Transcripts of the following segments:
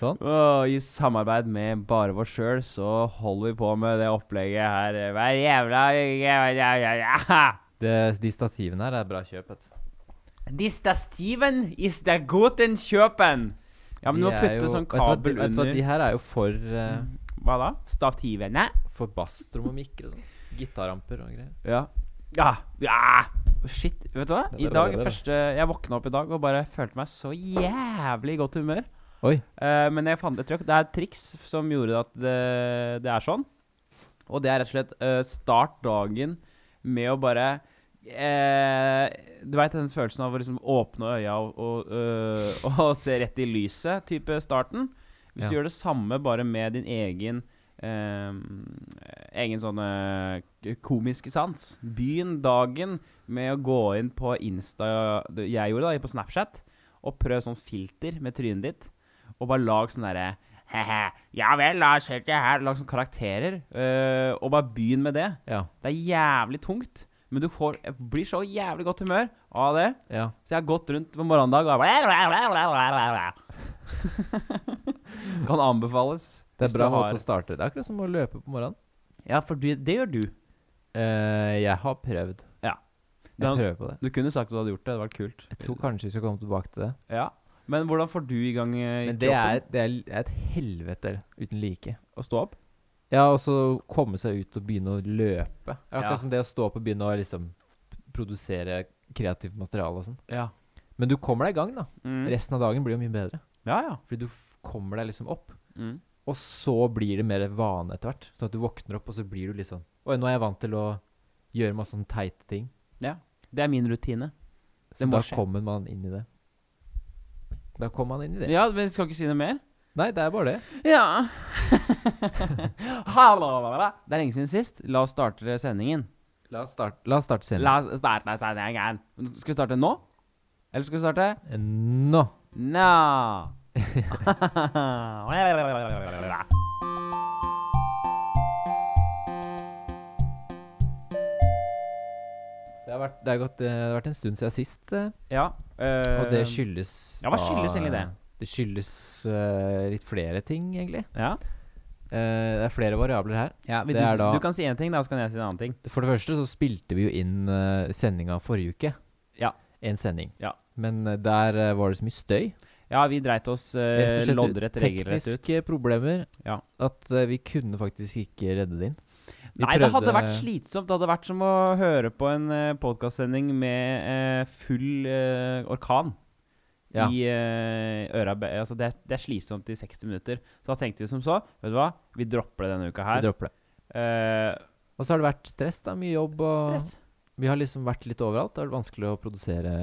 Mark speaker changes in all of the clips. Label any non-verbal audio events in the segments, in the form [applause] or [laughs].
Speaker 1: Sånn.
Speaker 2: Og I samarbeid med bare oss sjøl så holder vi på med det opplegget her eh, hver jævla [laughs] ja, ja, ja.
Speaker 1: Det, de stativene her er bra kjøp, vet du.
Speaker 2: This the Steven is the guten kjøpen. Ja, men du må
Speaker 1: De er
Speaker 2: putte
Speaker 1: jo-
Speaker 2: sånn
Speaker 1: vet du hva, de- vet
Speaker 2: kabel
Speaker 1: du hva,
Speaker 2: under. Mm.
Speaker 1: De her er jo for, eh,
Speaker 2: Hva da? Stativene?
Speaker 1: for bassrom og mikker og sånn. Gitarramper og greier.
Speaker 2: Ja. Ja. ja. Shit. Vet du hva?
Speaker 1: Det er
Speaker 2: I
Speaker 1: bra,
Speaker 2: dag,
Speaker 1: det er bra.
Speaker 2: første, jeg våkna opp i dag og bare følte meg så jævlig i godt humør.
Speaker 1: Oi.
Speaker 2: Eh, men jeg fant et trøkk. Det er et triks som gjorde at det, det er sånn. Og det er rett og slett eh, start dagen med å bare eh, Du veit den følelsen av å liksom åpne øya og, og, eh, [laughs] og se rett i lyset, type starten? Hvis
Speaker 1: Ja.
Speaker 2: du gjør det samme bare med din egen eh, egen sånn eh, komiske sans. Begynn dagen med å gå inn på Insta Jeg gjorde det på Snapchat. Og prøv sånn filter med trynet ditt. Og bare lag sånn derre «Hehe, Ja vel, da skjer det her. Lag sånne karakterer. øh, og bare begynn med det.
Speaker 1: Ja.
Speaker 2: Det er jævlig tungt, men du får, blir så jævlig godt humør av det.
Speaker 1: ja.
Speaker 2: Så jeg har gått rundt på morgenen i dag og bare [laughs] Kan anbefales.
Speaker 1: Det
Speaker 2: hvis
Speaker 1: er
Speaker 2: du
Speaker 1: bra
Speaker 2: har-
Speaker 1: måte å starte. Det er akkurat som å løpe på morgenen.
Speaker 2: Ja, for du, det gjør du.
Speaker 1: Eh, jeg har prøvd.
Speaker 2: Ja.
Speaker 1: Jeg
Speaker 2: Den-
Speaker 1: prøver på det.
Speaker 2: Du kunne sagt at du hadde gjort det. Det hadde vært kult.
Speaker 1: Jeg tror kanskje vi skal komme tilbake til det.
Speaker 2: Ja. Men hvordan får du i gang eh,
Speaker 1: Men det er,
Speaker 2: kroppen?
Speaker 1: det er l- et helvete uten like.
Speaker 2: Å stå opp?
Speaker 1: Ja, og så komme seg ut og begynne å løpe. Det er
Speaker 2: Ja.
Speaker 1: akkurat som det å stå opp og begynne å liksom produsere kreativt materiale og sånn.
Speaker 2: Ja.
Speaker 1: Men du kommer deg i gang, da.
Speaker 2: Mm.
Speaker 1: Resten av dagen blir jo mye bedre.
Speaker 2: Ja, ja.
Speaker 1: Fordi du f kommer deg liksom opp.
Speaker 2: Mm.
Speaker 1: Og så blir det mer vane etter hvert. Sånn at du våkner opp, og så blir du litt sånn Oi, nå er jeg vant til å gjøre masse sånne teite ting.
Speaker 2: Det er min rutine.
Speaker 1: Så
Speaker 2: Det må
Speaker 1: da
Speaker 2: skje.
Speaker 1: kommer man inn i det. Da kommer man inn i det.
Speaker 2: Ja, men skal ikke si noe mer?
Speaker 1: Nei, det er bare det.
Speaker 2: Ja. [laughs] Hallo, Det er lenge siden sist. La oss starte sendingen.
Speaker 1: La oss starte, la oss starte sendingen.
Speaker 2: La oss starte sendingen. Skal vi starte nå? Eller skal vi starte
Speaker 1: Nå.
Speaker 2: nå? [laughs]
Speaker 1: Det har, vært, det, har gått, eh, det har vært en stund siden sist, eh,
Speaker 2: ja.
Speaker 1: og det
Speaker 2: eh,
Speaker 1: skyldes
Speaker 2: ja, hva skyldes
Speaker 1: av-
Speaker 2: egentlig det?
Speaker 1: Det skyldes eh, litt flere ting, egentlig.
Speaker 2: ja.
Speaker 1: Eh, det er flere variabler her.
Speaker 2: ja vil
Speaker 1: Det
Speaker 2: du,
Speaker 1: er da-
Speaker 2: du kan si én ting, da, så kan jeg si en annen ting.
Speaker 1: For det første så spilte vi jo inn uh, sendinga forrige uke.
Speaker 2: Ja.
Speaker 1: En sending.
Speaker 2: Ja.
Speaker 1: Men eh, der eh, var det så mye støy.
Speaker 2: Ja, vi dreit oss eh,
Speaker 1: Rett og slett
Speaker 2: loddrett regelrett ut.
Speaker 1: tekniske problemer.
Speaker 2: Ja.
Speaker 1: At eh, vi kunne faktisk ikke redde det inn. Vi
Speaker 2: Nei, det hadde
Speaker 1: prøvde-
Speaker 2: vært slitsomt. Det hadde vært som å høre på en uh, podkastsending med eh, full eh, orkan
Speaker 1: Ja.
Speaker 2: i eh, øra. be- Altså, det, er- det er slitsomt i 60 minutter. Så da tenkte vi som så. Vet du hva, vi dropper det denne uka
Speaker 1: Vi
Speaker 2: her.
Speaker 1: dropper det.
Speaker 2: Eh,
Speaker 1: Og så har det vært stress. da, Mye jobb. Og
Speaker 2: stress.
Speaker 1: Vi har liksom vært litt overalt. Det har vært vanskelig å produsere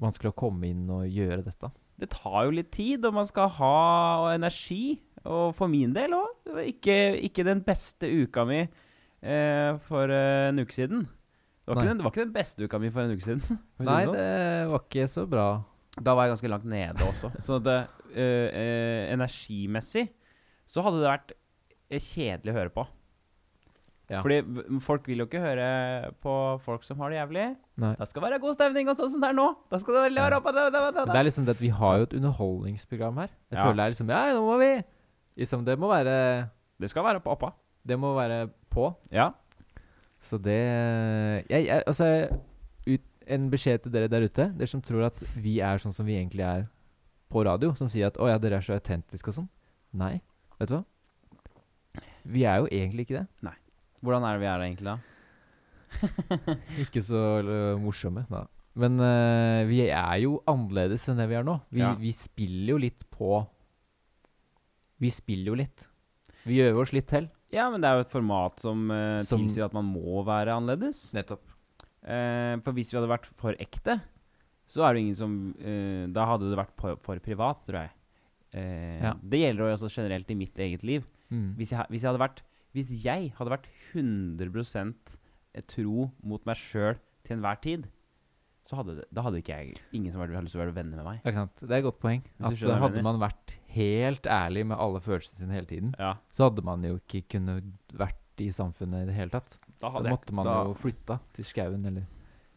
Speaker 1: Vanskelig å komme inn og gjøre dette.
Speaker 2: Det tar jo litt tid, og man skal ha energi. Og for min del òg. Ikke, ikke den beste uka mi eh, for eh, en uke siden. Det var,
Speaker 1: Nei.
Speaker 2: ikke den, det var ikke den beste uka mi for en uke siden. [laughs] for å si
Speaker 1: Nei,
Speaker 2: sånn.
Speaker 1: det var ikke så bra.
Speaker 2: Da var jeg ganske langt nede også. Så det, eh, eh, energimessig så hadde det vært eh, kjedelig å høre på.
Speaker 1: Ja.
Speaker 2: Fordi v- folk vil jo ikke høre på folk som har det jævlig.
Speaker 1: Nei.
Speaker 2: Da skal det være god stemning og sånn som det er nå. Da skal det være
Speaker 1: Ja.
Speaker 2: opp, da, da, da,
Speaker 1: Men det
Speaker 2: da.
Speaker 1: er liksom det at vi har jo et underholdningsprogram her. Jeg
Speaker 2: Ja.
Speaker 1: føler det er liksom Ja, nå må vi Liksom, det må være
Speaker 2: Det skal være på oppa.
Speaker 1: Det må være på.
Speaker 2: Ja.
Speaker 1: Så det jeg, jeg, Altså, ut, en beskjed til dere der ute, dere som tror at vi er sånn som vi egentlig er på radio, som sier at 'Å ja, dere er så autentiske' og sånn. Nei. Vet du hva? Vi er jo egentlig ikke det.
Speaker 2: Hvordan er det vi er egentlig da?
Speaker 1: Ikke så eller, morsomme, da. Men eh, vi er jo annerledes enn det vi er nå. Vi,
Speaker 2: Ja.
Speaker 1: vi spiller jo litt på Vi spiller jo litt. Vi gjør oss litt til.
Speaker 2: Ja, men det er jo et format som, eh,
Speaker 1: Som-
Speaker 2: tilsier at man må være annerledes.
Speaker 1: Nettopp.
Speaker 2: Eh, for hvis vi hadde vært for ekte, så er det jo ingen som eh, Da hadde det vært for, for privat, tror jeg. Eh,
Speaker 1: Ja.
Speaker 2: Det gjelder jo også generelt i mitt eget liv.
Speaker 1: Mm.
Speaker 2: Hvis jeg, hvis jeg hadde vært Hvis jeg hadde vært 100 tro mot meg sjøl til enhver tid, så hadde det, da hadde ikke jeg ingen som hadde lyst til å være venner med meg.
Speaker 1: Ja, Ikke sant? Det er et godt poeng.
Speaker 2: du
Speaker 1: At øh,
Speaker 2: skjønner hva jeg
Speaker 1: Hadde
Speaker 2: mener.
Speaker 1: man vært helt ærlig med alle følelsene sine hele tiden,
Speaker 2: Ja,
Speaker 1: så hadde man jo ikke kunnet vært i samfunnet i det hele tatt.
Speaker 2: da
Speaker 1: Da
Speaker 2: hadde jeg
Speaker 1: måtte man
Speaker 2: da,
Speaker 1: jo flytta til skauen eller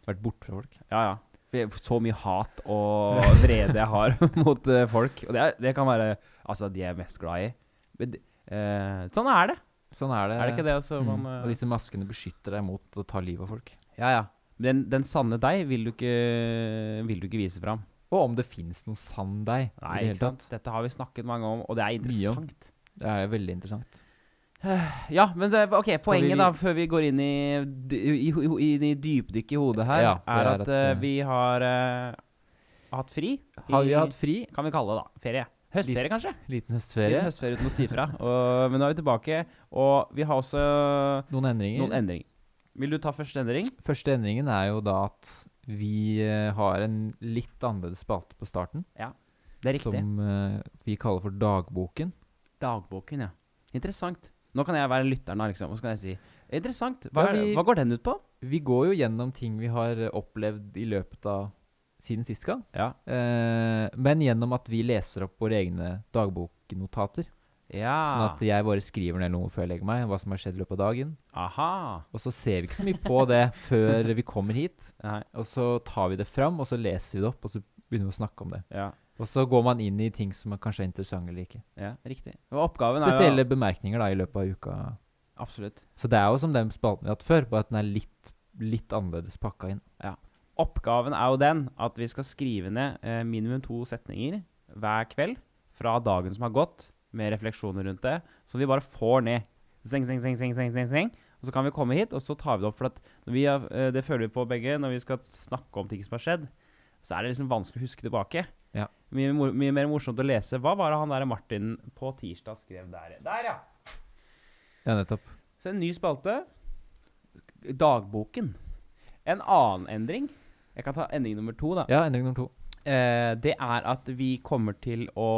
Speaker 1: vært borte fra folk.
Speaker 2: Ja, ja. For jeg- Så mye hat og
Speaker 1: [laughs]
Speaker 2: vrede jeg har [laughs] mot eh, folk. Og det, er, det kan være Altså, de jeg er mest glad i. Men, det- eh, sånn er det.
Speaker 1: Sånn er det.
Speaker 2: Er det ikke det? Altså,
Speaker 1: Mm.
Speaker 2: man, eh,
Speaker 1: Og disse maskene beskytter deg mot å ta livet av folk.
Speaker 2: ja, ja. Den, den sanne deg vil du ikke, vil du ikke vise fram.
Speaker 1: Og om det fins noen sann deg i
Speaker 2: Nei,
Speaker 1: det
Speaker 2: ikke
Speaker 1: hele
Speaker 2: sant?
Speaker 1: tatt.
Speaker 2: Dette har vi snakket mange om, og det er
Speaker 1: Mye om.
Speaker 2: interessant.
Speaker 1: Det er veldig interessant.
Speaker 2: Ja, men det, ok,
Speaker 1: vi-
Speaker 2: poenget da, før vi går inn i, dy- i, ho- i, i dypdykk i hodet her,
Speaker 1: Ja, det
Speaker 2: er
Speaker 1: er
Speaker 2: at
Speaker 1: at,
Speaker 2: eh,
Speaker 1: eh,
Speaker 2: vi har eh, hatt fri.
Speaker 1: Har vi
Speaker 2: i-
Speaker 1: hatt fri?
Speaker 2: Kan vi kalle det da, ferie. Høstferie, kanskje?
Speaker 1: Liten
Speaker 2: Ferie.
Speaker 1: høstferie.
Speaker 2: Høstferie uten å si fra. [laughs] Og, men nå er vi tilbake, og vi har også
Speaker 1: Noen endringer.
Speaker 2: noen endringer. Vil du ta første endring?
Speaker 1: Første endringen er jo da at vi eh, har en litt annerledes spalte på starten.
Speaker 2: Det er riktig.
Speaker 1: Som eh, vi kaller for Dagboken.
Speaker 2: Dagboken, ja. Interessant. Nå kan jeg være lytteren da, liksom, og så kan jeg si Interessant. Hva,
Speaker 1: Ja,
Speaker 2: er,
Speaker 1: vi-
Speaker 2: hva går den ut på?
Speaker 1: Vi går jo gjennom ting vi har eh, opplevd i løpet av siden sist gang.
Speaker 2: Ja.
Speaker 1: Eh, men gjennom at vi leser opp våre egne dagboknotater.
Speaker 2: ja.
Speaker 1: Sånn at jeg bare skriver ned noe før jeg legger meg, hva som har skjedd i løpet av dagen.
Speaker 2: Aha.
Speaker 1: Og så ser vi ikke så mye på det før vi kommer hit.
Speaker 2: Nei.
Speaker 1: Og så tar vi det fram, og så leser vi det opp, og så begynner vi å snakke om det.
Speaker 2: Ja.
Speaker 1: Og så går man inn i ting som er kanskje er interessante eller ikke.
Speaker 2: Ja, riktig. Og oppgaven
Speaker 1: Spesielle
Speaker 2: er jo
Speaker 1: bemerkninger da i løpet av uka.
Speaker 2: Absolutt.
Speaker 1: Så det er jo som den spalten vi har hatt før, bare at den er litt, litt annerledes pakka inn.
Speaker 2: Oppgaven er jo den at vi skal skrive ned eh, minimum to setninger hver kveld fra dagen som har gått, med refleksjoner rundt det, så vi bare får ned. Zeng, zeng, zeng, zeng, zeng, zeng, zeng. Og så kan vi komme hit, og så tar vi det opp. For at når vi har, eh, det føler vi på begge når vi skal snakke om ting som har skjedd. Så er det liksom vanskelig å huske tilbake.
Speaker 1: Ja.
Speaker 2: Mye, mor- mye mer morsomt å lese. Hva var det han der Martin på tirsdag skrev der? Der, ja!
Speaker 1: Ja, nettopp.
Speaker 2: Så en ny spalte. Dagboken. En annen endring. Jeg kan ta endring nummer to, da.
Speaker 1: Ja, endring nummer to.
Speaker 2: Eh, det er at vi kommer til å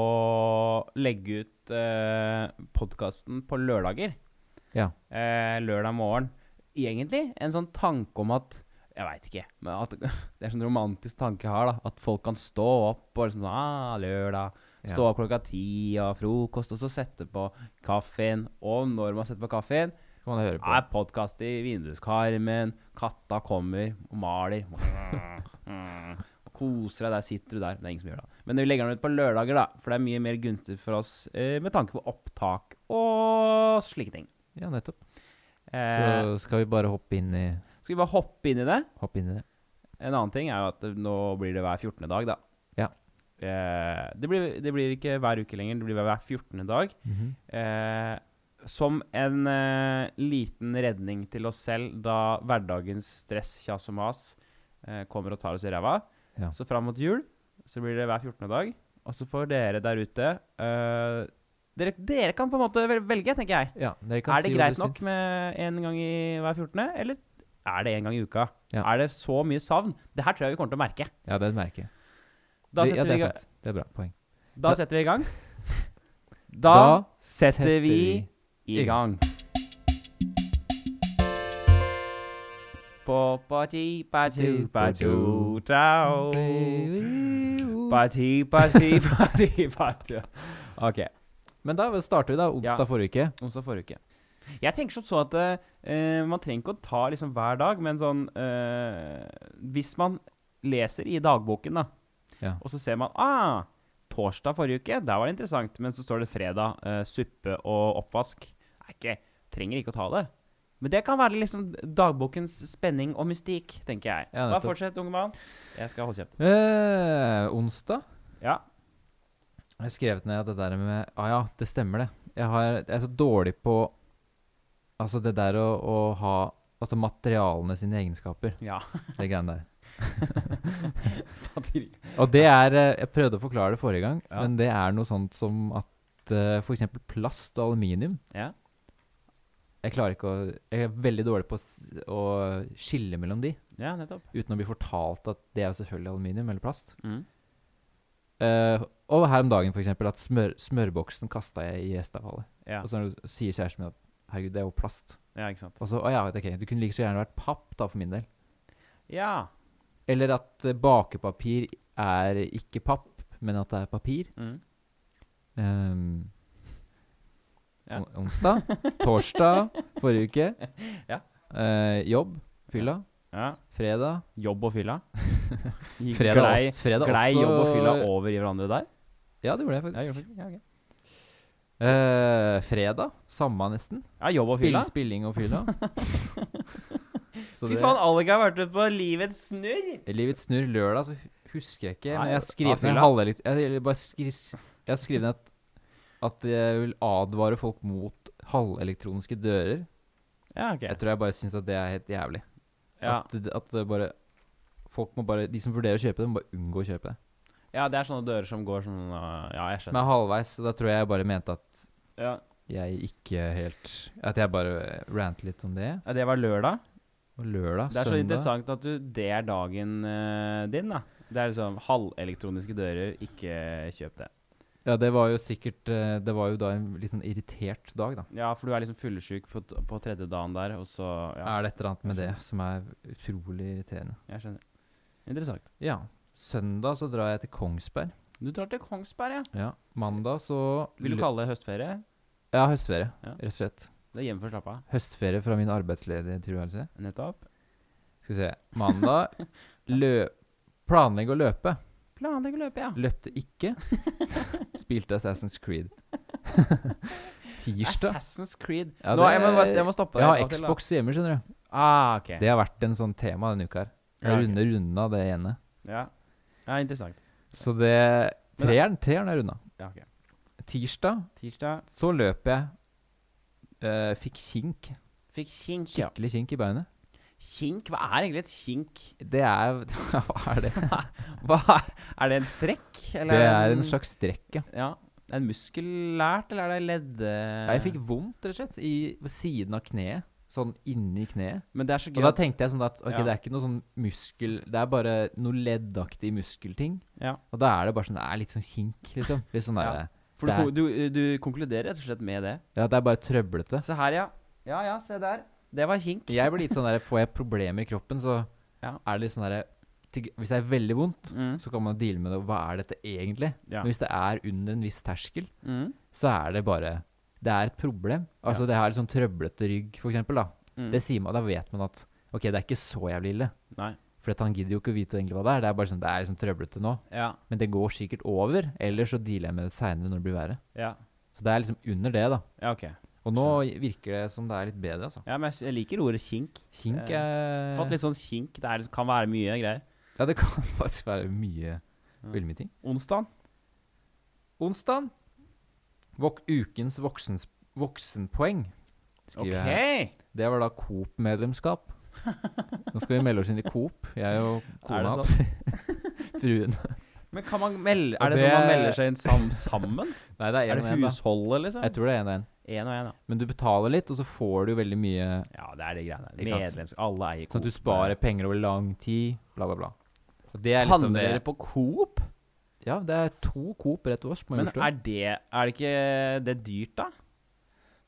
Speaker 2: legge ut eh, podkasten på lørdager.
Speaker 1: Ja.
Speaker 2: Eh, lørdag morgen. Egentlig en sånn tanke om at Jeg veit ikke. Men at, [laughs] det er sånn romantisk tanke jeg har. da At folk kan stå opp og liksom sånn, ah, lørdag. Stå
Speaker 1: Ja.
Speaker 2: opp klokka ti og frokost, og så sette på kaffen. Og når man setter på kaffen,
Speaker 1: Kan man høre på.
Speaker 2: er podkast i vinduskarmen. Katta kommer og
Speaker 1: [laughs]
Speaker 2: maler. Og koser deg. Der sitter du der. Det er ingen som gjør det. Men vi legger den ut på lørdager, da. For det er mye mer gunstig for oss eh, med tanke på opptak og slike ting.
Speaker 1: Ja, nettopp.
Speaker 2: Eh,
Speaker 1: Så skal vi bare hoppe inn i,
Speaker 2: skal vi bare hoppe inn i det?
Speaker 1: hoppe inn i det.
Speaker 2: En annen ting er jo at det- nå blir det hver 14. dag, da.
Speaker 1: Ja.
Speaker 2: Eh, det, blir, det blir ikke hver uke lenger. Det blir hver 14. dag. Eh, som en eh, liten redning til oss selv da hverdagens stress, kjas og mas eh, kommer og tar oss i ræva.
Speaker 1: Ja.
Speaker 2: Så fram mot jul så blir det hver 14. dag. Og så får dere der ute eh, dere, dere kan på en måte vel- velge, tenker jeg.
Speaker 1: Ja, dere kan
Speaker 2: er det
Speaker 1: si hva
Speaker 2: greit
Speaker 1: dere
Speaker 2: nok
Speaker 1: syns.
Speaker 2: med én gang i hver 14., eller er det én gang i uka?
Speaker 1: Ja.
Speaker 2: Er det så mye savn? Det her tror jeg vi kommer til å merke.
Speaker 1: Ja, det merker jeg.
Speaker 2: Da
Speaker 1: det,
Speaker 2: setter,
Speaker 1: ja, det
Speaker 2: vi, i
Speaker 1: er
Speaker 2: ga-
Speaker 1: sant. Det er bra poeng.
Speaker 2: da
Speaker 1: Da-
Speaker 2: setter vi i gang. Da,
Speaker 1: Da
Speaker 2: setter, vi
Speaker 1: I
Speaker 2: i gang. På parti, parti, parti, tau. Parti, parti, parti, parti. Ok,
Speaker 1: Men da starter vi, da. Onsdag
Speaker 2: Ja.
Speaker 1: forrige uke.
Speaker 2: onsdag forrige uke. Jeg tenker som så at eh, man trenger ikke å ta liksom hver dag, men sånn eh, Hvis man leser i dagboken, da,
Speaker 1: Ja.
Speaker 2: og så ser man ah, Torsdag forrige uke, der var det interessant, men så står det fredag. eh, suppe og oppvask. Er ikke, trenger ikke å ta det. Men det kan være liksom dagbokens spenning og mystikk, tenker jeg.
Speaker 1: Ja,
Speaker 2: Bare
Speaker 1: nettopp.
Speaker 2: fortsett, unge mann. Jeg skal holde kjeft.
Speaker 1: Eh, onsdag [laughs]
Speaker 2: Ja.
Speaker 1: har jeg skrevet ned det der med Ja, ah, ja, det stemmer, det. Jeg, har, jeg er så dårlig på Altså det der å, å ha Altså materialene sine egenskaper.
Speaker 2: ja.
Speaker 1: [laughs] Det greiene der.
Speaker 2: Fatter ikke.
Speaker 1: Og det er eh, Jeg prøvde å forklare det forrige gang,
Speaker 2: Ja.
Speaker 1: men det er noe sånt som at eh, for f.eks. plast og aluminium
Speaker 2: Ja.
Speaker 1: Jeg klarer ikke å Jeg er veldig dårlig på å s- å skille mellom de.
Speaker 2: ja, nettopp.
Speaker 1: uten å bli fortalt at det er jo selvfølgelig aluminium eller plast.
Speaker 2: Mm.
Speaker 1: Eh, og her om dagen for eksempel, at smør, smørboksen kasta jeg i gjesteavfallet.
Speaker 2: Ja.
Speaker 1: Og så sier kjæresten min at herregud, det er jo plast.
Speaker 2: ja, ikke sant.
Speaker 1: Og så å ja, ok, det kunne like så gjerne vært papp da for min del.
Speaker 2: Ja.
Speaker 1: Eller at eh, bakepapir er ikke papp, men at det er papir.
Speaker 2: Mm.
Speaker 1: Ehm,
Speaker 2: Ja.
Speaker 1: on- Onsdag. Torsdag forrige uke.
Speaker 2: Ja.
Speaker 1: Eh, jobb. Fylla.
Speaker 2: Ja.
Speaker 1: Fredag.
Speaker 2: Jobb og
Speaker 1: [laughs]
Speaker 2: fylla. Gikk
Speaker 1: Fredag,
Speaker 2: glei,
Speaker 1: også, fredag
Speaker 2: glei
Speaker 1: også
Speaker 2: jobb og fylla over i hverandre der?
Speaker 1: Ja, det gjorde jeg
Speaker 2: Ja,
Speaker 1: faktisk.
Speaker 2: jobb, og fylla, ja, ok.
Speaker 1: Eh, fredag. Samme nesten.
Speaker 2: ja, jobb og fylla.
Speaker 1: Spill, spilling og
Speaker 2: [laughs]
Speaker 1: fylla. Så
Speaker 2: Fy
Speaker 1: det-
Speaker 2: faen, Alga har vært ute på livets snurr!
Speaker 1: Livets snurr lørdag, så hu- husker jeg ikke.
Speaker 2: Nei,
Speaker 1: men jeg
Speaker 2: ja,
Speaker 1: skrev ned
Speaker 2: fylla.
Speaker 1: halvelekt... Jeg, eller bare skri, jeg har skrevet ned at, at jeg vil advare folk mot halvelektroniske dører.
Speaker 2: Ja, ok.
Speaker 1: Jeg tror jeg bare syns at det er helt jævlig.
Speaker 2: Ja.
Speaker 1: At, det- at det bare Folk må bare De som vurderer å kjøpe det, må bare unngå å kjøpe det.
Speaker 2: ja, det er sånne dører som går sånn uh, Ja, jeg
Speaker 1: Men
Speaker 2: skjønner.
Speaker 1: jeg er halvveis, så da tror jeg jeg bare mente at
Speaker 2: Ja.
Speaker 1: jeg ikke helt At jeg bare rant litt om det.
Speaker 2: Ja, det var lørdag.
Speaker 1: Og lørdag,
Speaker 2: Det er så
Speaker 1: søndag
Speaker 2: interessant at du, det er dagen eh, din, da. Det er liksom halvelektroniske dører, ikke kjøp det.
Speaker 1: Ja, det var jo sikkert eh, Det var jo da en litt sånn irritert dag, da.
Speaker 2: Ja, for du er liksom fyllesyk på, t- på tredje dagen der, og så Ja,
Speaker 1: Er det et eller annet med det som er utrolig irriterende?
Speaker 2: jeg skjønner. Interessant.
Speaker 1: Ja. Søndag så drar jeg til Kongsberg.
Speaker 2: Du drar til Kongsberg, ja.
Speaker 1: Ja. Mandag så
Speaker 2: Vil du kalle det høstferie?
Speaker 1: Ja, høstferie,
Speaker 2: Ja.
Speaker 1: rett og slett.
Speaker 2: Det er hjemme for å slappe av.
Speaker 1: Høstferie fra min arbeidsledige tilværelse.
Speaker 2: Nettopp.
Speaker 1: Skal vi
Speaker 2: [laughs]
Speaker 1: se. Mandag lø Planlegge å løpe.
Speaker 2: Planlegg å løpe, ja.
Speaker 1: Løpte ikke.
Speaker 2: [laughs]
Speaker 1: Spilte Assassin's Creed. Tirsdag.
Speaker 2: Assassin's Creed.
Speaker 1: Ja,
Speaker 2: Nå,
Speaker 1: det-
Speaker 2: jeg, må, bare- jeg må
Speaker 1: Jeg
Speaker 2: stoppe deg
Speaker 1: har
Speaker 2: av og til, da.
Speaker 1: Xbox hjemme, skjønner du.
Speaker 2: Ah, ok.
Speaker 1: Det har vært en sånn tema denne uka her.
Speaker 2: Ja,
Speaker 1: Jeg
Speaker 2: ok.
Speaker 1: runder runda det ene.
Speaker 2: Ja. ja, interessant.
Speaker 1: Så det Treeren treeren er runda.
Speaker 2: Ja, ok.
Speaker 1: Tirsdag
Speaker 2: Tirsdag
Speaker 1: så løp jeg. eh, fikk kink.
Speaker 2: fikk kink, ja.
Speaker 1: Skikkelig kink i beinet.
Speaker 2: Kink? Hva er egentlig et kink?
Speaker 1: Det er [laughs] Hva er det?
Speaker 2: Hva, er det en strekk? eller
Speaker 1: Det er
Speaker 2: det
Speaker 1: en slags strekk, ja.
Speaker 2: Ja. Er det muskulært, eller er det ledd... eh?
Speaker 1: Jeg fikk vondt, rett og slett, i på siden av kneet. Sånn inni kneet.
Speaker 2: Men det er så
Speaker 1: Og
Speaker 2: gøy
Speaker 1: da
Speaker 2: at-
Speaker 1: tenkte jeg sånn at ok,
Speaker 2: Ja.
Speaker 1: det er ikke noe sånn muskel Det er bare noe leddaktig muskelting.
Speaker 2: Ja.
Speaker 1: Og da er det bare sånn Det er litt sånn kink, liksom. Litt sånn der,
Speaker 2: For du,
Speaker 1: det er-
Speaker 2: ko- du, du konkluderer rett og slett med det.
Speaker 1: ja, det er bare trøblete.
Speaker 2: Se her, ja. Ja, ja, se der. Det var kink.
Speaker 1: Jeg blir litt sånn der Får jeg problemer i kroppen, så
Speaker 2: Ja.
Speaker 1: er det litt sånn derre til- Hvis det er veldig vondt,
Speaker 2: Mm.
Speaker 1: så kan man deale med det. og Hva er dette egentlig?
Speaker 2: Ja.
Speaker 1: Men hvis det er under en viss terskel,
Speaker 2: Mm.
Speaker 1: så er det bare Det er et problem. Altså,
Speaker 2: Ja.
Speaker 1: det har litt sånn trøblete rygg, for eksempel, da.
Speaker 2: Mm.
Speaker 1: Det sier man, da vet man at Ok, det er ikke så jævlig ille.
Speaker 2: Nei.
Speaker 1: For at han gidder jo ikke å vite egentlig hva det er. Det er bare sånn, det er liksom trøblete nå.
Speaker 2: Ja.
Speaker 1: Men det går sikkert over. Eller så dealer jeg med det seinere når det blir verre.
Speaker 2: Ja.
Speaker 1: Så det er liksom under det, da.
Speaker 2: Ja, ok.
Speaker 1: Og nå virker det som det er litt bedre, altså.
Speaker 2: Ja, men jeg s- jeg liker ordet kink.
Speaker 1: Kink
Speaker 2: Ja.
Speaker 1: er
Speaker 2: Fått litt sånn kink. Det er, liksom- kan være mye greier.
Speaker 1: Ja, det kan [laughs] faktisk være mye Veldig mye ting.
Speaker 2: Onsdag?
Speaker 1: Onsdag. Vok ukens voksens, voksenpoeng,
Speaker 2: Ok.
Speaker 1: skriver jeg her. Det var da Coop-medlemskap. Nå skal vi melde oss inn i Coop. Jeg og kona.
Speaker 2: Er det
Speaker 1: [laughs] Fruen.
Speaker 2: Men kan man melde Er
Speaker 1: Og
Speaker 2: det, sånn man
Speaker 1: det-
Speaker 2: melder seg inn sam sammen?
Speaker 1: Nei, det
Speaker 2: er
Speaker 1: [laughs] er én og
Speaker 2: det
Speaker 1: én, da.
Speaker 2: husholdet, liksom?
Speaker 1: Jeg tror det er én og én.
Speaker 2: En og en, ja.
Speaker 1: Men du betaler litt, og så får du veldig mye
Speaker 2: Ja, det er de greiene.
Speaker 1: Ikke sant?
Speaker 2: Medlems... Alle eier eh.
Speaker 1: Sånn at du sparer penger over lang tid, bla, bla, bla. Og det er liksom
Speaker 2: Handler dere
Speaker 1: det
Speaker 2: på Coop?
Speaker 1: Ja, det er to Coop rett over oss på
Speaker 2: Men
Speaker 1: Majorstuen.
Speaker 2: er det Er det ikke det dyrt, da?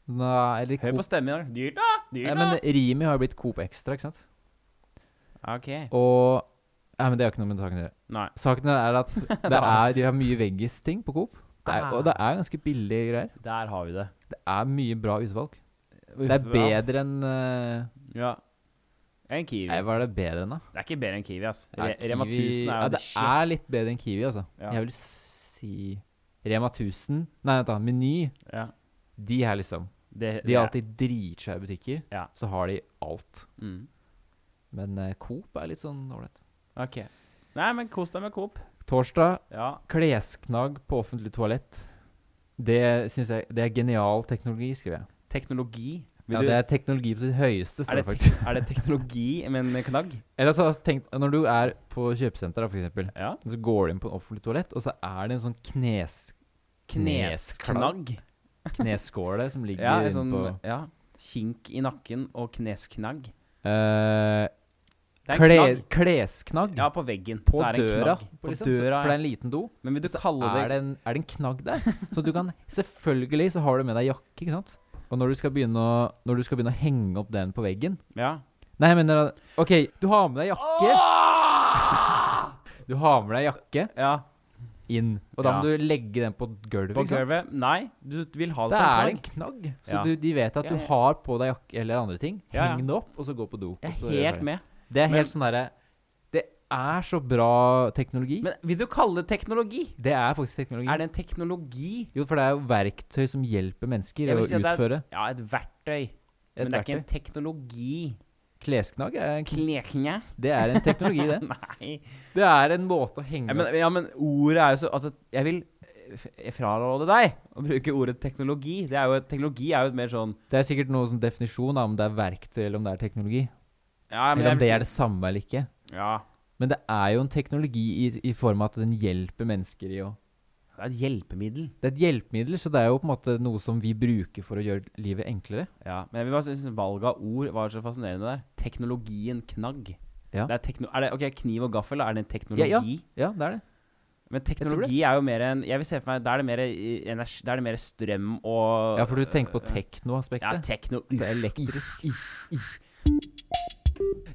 Speaker 1: Nei, eller
Speaker 2: Hør på
Speaker 1: Coop
Speaker 2: stemmen i dag. Dyrt, da! Dyrt,
Speaker 1: Nei,
Speaker 2: da!
Speaker 1: Men Rimi har jo blitt Coop Extra, ikke sant?
Speaker 2: OK.
Speaker 1: Og Nei, men det har ikke noe med saken å gjøre.
Speaker 2: Nei.
Speaker 1: Saken er
Speaker 2: [laughs]
Speaker 1: at det er, de har mye veggis-ting på Coop. Det er, og det er ganske billige greier.
Speaker 2: Der har vi det.
Speaker 1: Det er mye bra utvalg. Det er bedre enn eh,
Speaker 2: Ja. En Kiwi.
Speaker 1: Nei, hva er det bedre enn, da?
Speaker 2: Det er ikke bedre enn Kiwi, ass.
Speaker 1: Ja,
Speaker 2: Re- Rema
Speaker 1: Kiwi-
Speaker 2: 1000 er
Speaker 1: ja,
Speaker 2: jo
Speaker 1: det
Speaker 2: the shit.
Speaker 1: er litt bedre enn Kiwi, altså.
Speaker 2: Ja.
Speaker 1: Jeg vil si Rema 1000 Nei, vent, da. Meny.
Speaker 2: ja.
Speaker 1: De her, liksom.
Speaker 2: det,
Speaker 1: De har alltid dritsvære butikker.
Speaker 2: Ja.
Speaker 1: Så har de alt.
Speaker 2: mm.
Speaker 1: Men eh, Coop er litt sånn ålreit.
Speaker 2: OK. Nei, men kos deg med Coop.
Speaker 1: Torsdag.
Speaker 2: Ja.
Speaker 1: Klesknagg på offentlig toalett. Det syns jeg Det er genial teknologi, skriver jeg.
Speaker 2: Teknologi.
Speaker 1: Ja, det er teknologi på sitt høyeste,
Speaker 2: er,
Speaker 1: står det
Speaker 2: det
Speaker 1: faktisk.
Speaker 2: tek- er det teknologi med en knagg?
Speaker 1: Eller så har jeg tenkt Når du er på kjøpesenter, da, for eksempel,
Speaker 2: Ja.
Speaker 1: så går du inn på en offentlig toalett, og så er det en sånn knes...
Speaker 2: Knesknagg.
Speaker 1: Kneskåle som ligger
Speaker 2: Ja, en
Speaker 1: inne
Speaker 2: sånn
Speaker 1: på
Speaker 2: ja. kink i nakken og knesknagg.
Speaker 1: Eh,
Speaker 2: Det er en
Speaker 1: kle,
Speaker 2: knagg.
Speaker 1: Klesknagg.
Speaker 2: Ja, på veggen.
Speaker 1: På
Speaker 2: så er det en
Speaker 1: døra.
Speaker 2: knagg.
Speaker 1: liksom,
Speaker 2: på
Speaker 1: så-
Speaker 2: døra.
Speaker 1: For det
Speaker 2: ja.
Speaker 1: er en liten do.
Speaker 2: Men vil du kalle
Speaker 1: Er
Speaker 2: det,
Speaker 1: det en, er det en knagg der? Så du kan Selvfølgelig så har du med deg jakke, ikke sant? Og når du skal begynne å, når du skal begynne å henge opp den på veggen
Speaker 2: Ja.
Speaker 1: Nei, jeg mener at- OK, du har med deg jakke. [laughs] Du har med deg jakke
Speaker 2: ja.
Speaker 1: inn. Og da
Speaker 2: Ja.
Speaker 1: må du legge den på gulvet.
Speaker 2: På
Speaker 1: ikke sant?
Speaker 2: gulvet? Nei, du vil ha det
Speaker 1: Da er
Speaker 2: på
Speaker 1: det
Speaker 2: en
Speaker 1: en
Speaker 2: knagg.
Speaker 1: knagg. Så
Speaker 2: Ja.
Speaker 1: du, de vet at
Speaker 2: Ja,
Speaker 1: du
Speaker 2: ja.
Speaker 1: har på deg jakke eller andre ting.
Speaker 2: Ja, ja.
Speaker 1: Heng det opp, og så gå på do. og
Speaker 2: Jeg
Speaker 1: så
Speaker 2: er
Speaker 1: gjør
Speaker 2: helt
Speaker 1: det.
Speaker 2: med.
Speaker 1: Det er
Speaker 2: Men-
Speaker 1: helt sånn derre Det er så bra teknologi.
Speaker 2: Men vil du kalle det teknologi?
Speaker 1: det er faktisk teknologi.
Speaker 2: Er det en teknologi?
Speaker 1: Jo, for det er jo verktøy som hjelper mennesker å
Speaker 2: Jeg vil si at det er-
Speaker 1: utføre.
Speaker 2: Ja, et verktøy.
Speaker 1: Et
Speaker 2: men det er
Speaker 1: verktøy.
Speaker 2: ikke en teknologi.
Speaker 1: Klesknagg er en, kn-
Speaker 2: Kleknje?
Speaker 1: det er en teknologi,
Speaker 2: [laughs]
Speaker 1: det.
Speaker 2: Nei.
Speaker 1: Det er en måte å henge
Speaker 2: Ja men, ja, men ordet er jo så Altså, jeg vil jeg fraråde deg å bruke ordet teknologi. Det er jo, teknologi er jo et mer sånn
Speaker 1: Det er sikkert noe sånn definisjon av om det er verktøy eller om det er teknologi.
Speaker 2: ja, men
Speaker 1: eller om
Speaker 2: jeg vil
Speaker 1: det
Speaker 2: si-
Speaker 1: er det samme eller ikke.
Speaker 2: Ja.
Speaker 1: Men det er jo en teknologi i, i form av at den hjelper mennesker i å
Speaker 2: Det er et hjelpemiddel.
Speaker 1: Det er et hjelpemiddel, så det er jo på en måte noe som vi bruker for å gjøre livet enklere.
Speaker 2: Ja, Men jeg vil bare synes valget av ord var så fascinerende der. Teknologien knagg.
Speaker 1: Ja.
Speaker 2: Det er, tekno er det, ok, Kniv og gaffel, da, er det en teknologi?
Speaker 1: Ja, Ja, det er det.
Speaker 2: Men
Speaker 1: tror
Speaker 2: teknologi er jo mer en Jeg vil se for meg Da er det mer, i- energi, da er det mer strøm og
Speaker 1: Ja, for du tenker på
Speaker 2: teknologi Ja,
Speaker 1: teknoaspektet.
Speaker 2: tekno...
Speaker 1: det er elektrisk.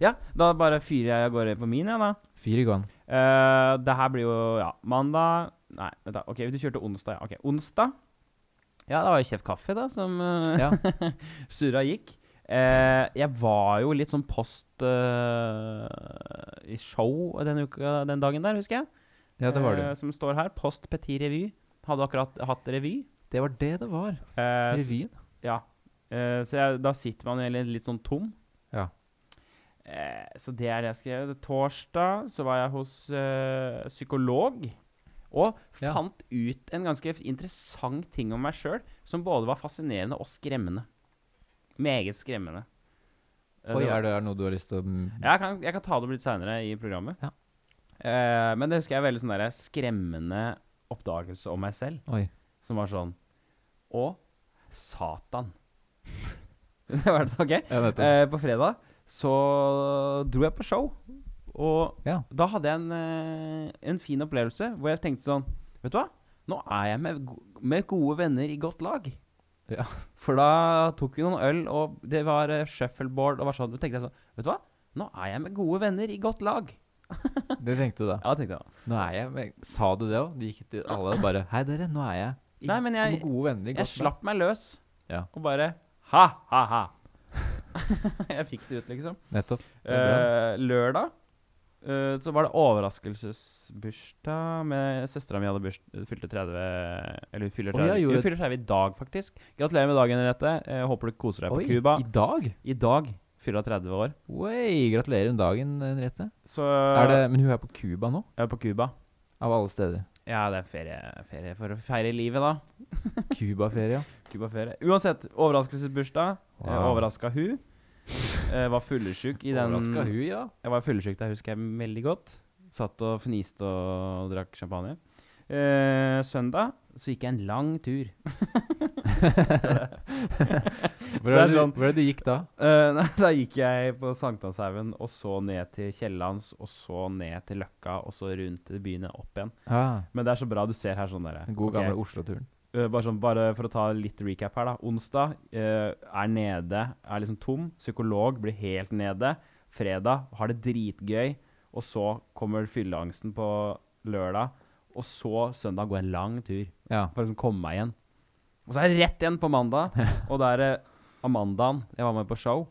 Speaker 2: Ja, da bare fyrer jeg av gårde på min, jeg, da.
Speaker 1: Fyr i gang.
Speaker 2: Eh, det her blir jo ja, mandag Nei, vent da. Ok, du kjørte onsdag. Ja. Ok, onsdag. Ja, det var jo Kjeft Kaffe, da, som eh, [laughs]
Speaker 1: Ja.
Speaker 2: surra gikk. Eh, jeg var jo litt sånn post eh, i show den, uka, den dagen der, husker jeg.
Speaker 1: [laughs] Ja, det var det.
Speaker 2: Eh, som står her. Post Petit Revy. Hadde akkurat hatt revy.
Speaker 1: Det var det det var.
Speaker 2: Eh, s-
Speaker 1: Revyen.
Speaker 2: ja. Eh, så jeg, da sitter man jo egentlig litt sånn tom.
Speaker 1: Ja.
Speaker 2: Eh, så det er det jeg skrev. Torsdag så var jeg hos eh, psykolog. Og
Speaker 1: Ja.
Speaker 2: fant ut en ganske interessant ting om meg sjøl som både var fascinerende og skremmende. Meget skremmende. Eh,
Speaker 1: Oi,
Speaker 2: det var-
Speaker 1: er det er det noe du har lyst til å mm,
Speaker 2: jeg kan, jeg kan ta det opp litt seinere i programmet.
Speaker 1: Ja.
Speaker 2: Eh, men det husker jeg er veldig sånn der skremmende oppdagelse om meg selv.
Speaker 1: Oi.
Speaker 2: Som var sånn Å, satan. [laughs] det var det, ok?
Speaker 1: Ja, nettopp.
Speaker 2: Eh, på fredag så dro jeg på show. Og
Speaker 1: Ja.
Speaker 2: da hadde jeg en, eh, en fin opplevelse hvor jeg tenkte sånn Vet du hva? Nå er jeg med, go- med gode venner i godt lag.
Speaker 1: Ja.
Speaker 2: For da tok vi noen øl, og det var eh, shuffleboard og var sånn. Da tenkte jeg sånn Vet du hva? Nå er jeg med gode venner i godt lag.
Speaker 1: Det tenkte du da.
Speaker 2: Ja, tenkte jeg da.
Speaker 1: Nå er jeg men, Sa du det òg? De gikk til alle og bare Hei, dere, nå er jeg i-
Speaker 2: Nei, men jeg-
Speaker 1: med gode venner. i
Speaker 2: Jeg
Speaker 1: godt lag».
Speaker 2: slapp meg løs
Speaker 1: Ja.
Speaker 2: og bare Ha, ha, ha. [laughs] jeg fikk det ut, liksom.
Speaker 1: Nettopp. Det er bra.
Speaker 2: Eh, lørdag eh, så var det overraskelsesbursdag med søstera mi hadde burs, fylte 30 Eller hun fyller
Speaker 1: Å, ja,
Speaker 2: 30,
Speaker 1: gjorde-
Speaker 2: hun fyller 30 i dag, faktisk. Gratulerer med dagen, Henriette. Eh, håper du koser deg
Speaker 1: Oi,
Speaker 2: på Cuba.
Speaker 1: i dag?
Speaker 2: I dag fyller hun 30 år.
Speaker 1: Oi, gratulerer med dagen, Henriette.
Speaker 2: Så
Speaker 1: Er det- Men hun er på Cuba nå,
Speaker 2: Jeg er på Cuba.
Speaker 1: av alle steder.
Speaker 2: Ja, det er ferie, ferie for å feire livet, da.
Speaker 1: Cubaferie,
Speaker 2: [laughs]
Speaker 1: ja.
Speaker 2: Cuba-ferie. Uansett, overraskelsesbursdag. Wow.
Speaker 1: Wow.
Speaker 2: Overraska hun. Eh, var fyllesyk i den
Speaker 1: Overraska hun, ja.
Speaker 2: Jeg var fyllesyk der, husker jeg veldig godt. Satt og fniste og drakk champagne. Eh, søndag så gikk jeg en lang tur.
Speaker 1: Hvor
Speaker 2: Så det
Speaker 1: er
Speaker 2: er
Speaker 1: det,
Speaker 2: sånn-
Speaker 1: hvor er det du gikk da?
Speaker 2: Eh, [laughs] nei, da gikk jeg på Sankthanshaugen, og så ned til Kiellands, og så ned til Løkka, og så rundt til byen og opp igjen.
Speaker 1: Ah,
Speaker 2: Men det er så bra du ser her sånn der.
Speaker 1: den gode
Speaker 2: Ok,
Speaker 1: gamle Oslo-turen.
Speaker 2: eh, bare, sånn, bare for å ta litt recap her, da. Onsdag eh, er nede, er liksom tom. Psykolog blir helt nede. Fredag har det dritgøy. Og så kommer fylleangsten på lørdag. Og så søndag går jeg en lang tur
Speaker 1: Ja.
Speaker 2: for å liksom komme meg igjen. Og så er det rett igjen på
Speaker 1: [laughs]
Speaker 2: mandag. Og da er det Amandaen. Jeg var med på show.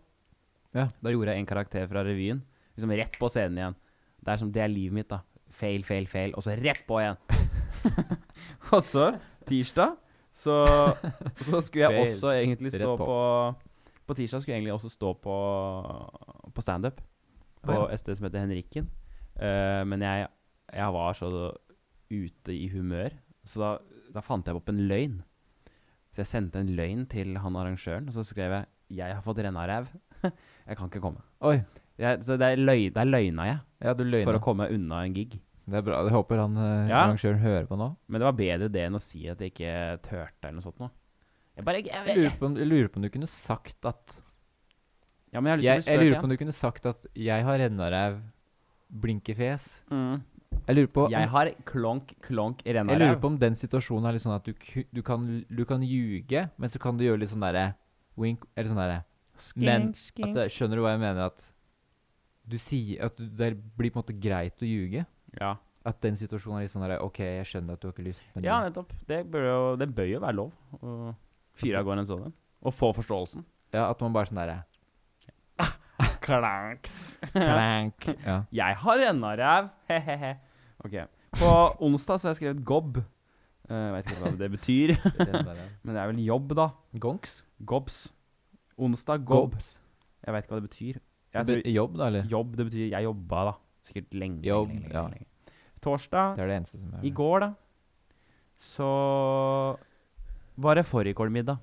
Speaker 1: Ja.
Speaker 2: Da gjorde jeg en karakter fra revyen. Liksom rett på scenen igjen. Det er, som, det er livet mitt, da. Fail, fail, fail. Og så rett på
Speaker 1: [laughs]
Speaker 2: igjen. [laughs] og så, tirsdag, så, så skulle
Speaker 1: Fail.
Speaker 2: jeg også egentlig stå
Speaker 1: Rett på.
Speaker 2: på. på tirsdag skulle jeg egentlig også stå på, på standup på
Speaker 1: Å,
Speaker 2: et sted som heter Henrikken. Eh, men jeg, jeg var så ute i humør, så da, da fant jeg opp en løgn. Så jeg sendte en løgn til han arrangøren, og så skrev jeg 'Jeg har fått renna ræv'. [laughs] jeg kan ikke komme.
Speaker 1: Oi.
Speaker 2: Jeg, så der, løy, der løgna jeg
Speaker 1: Ja, du
Speaker 2: for
Speaker 1: løgna.
Speaker 2: å komme unna en gig.
Speaker 1: Det er bra. Jeg håper han eh,
Speaker 2: Ja.
Speaker 1: arrangøren hører på nå.
Speaker 2: Men det var bedre det enn å si at jeg ikke turte, eller noe sånt noe. Jeg bare jeg,
Speaker 1: Jeg lurer på om, jeg lurer på om du kunne sagt at
Speaker 2: Ja, men jeg har
Speaker 1: jeg,
Speaker 2: lyst til å
Speaker 1: jeg
Speaker 2: bli
Speaker 1: lurer
Speaker 2: spurt
Speaker 1: på
Speaker 2: igjen.
Speaker 1: om du kunne sagt at 'jeg har rennaræv, blinkefjes'.
Speaker 2: Mm.
Speaker 1: Jeg lurer på om-
Speaker 2: Jeg har klonk, klonk renna
Speaker 1: Jeg
Speaker 2: ræv.
Speaker 1: lurer på om den situasjonen er litt sånn at du, ku- du, kan, du kan ljuge, men så kan du gjøre litt sånn derre wink Eller sånn derre Men at det- Skjønner du hva jeg mener? At du sier At du- det blir på en måte greit å ljuge.
Speaker 2: Ja.
Speaker 1: At den situasjonen er litt sånn derre OK, jeg skjønner at du har ikke lyst, men
Speaker 2: Ja,
Speaker 1: du,
Speaker 2: nettopp. Det bør jo, det bør jo være lov å fyre av gårde en sånn en. Og få forståelsen. [laughs]
Speaker 1: ja, at man bare sånn derre
Speaker 2: Klanks.
Speaker 1: Clank. [laughs] Ja.
Speaker 2: Jeg har rennaræv. He-he-he. Ok. På onsdag så har jeg skrevet gobb. Eh, Jeg vet ikke hva det betyr, [laughs] men det er vel jobb, da.
Speaker 1: Gonks?
Speaker 2: Gobbs. Onsdag, gobb.
Speaker 1: Gobs.
Speaker 2: Jeg vet ikke hva det betyr. Jeg
Speaker 1: Be-
Speaker 2: tror
Speaker 1: Jobb, da, eller?
Speaker 2: jobb, det betyr jeg jobba, da. Sikkert lenge. lenge,
Speaker 1: Jobb,
Speaker 2: lenge, lenge,
Speaker 1: ja.
Speaker 2: lenge. Torsdag
Speaker 1: Det er det eneste som er
Speaker 2: I går, da, så var det fårikålmiddag.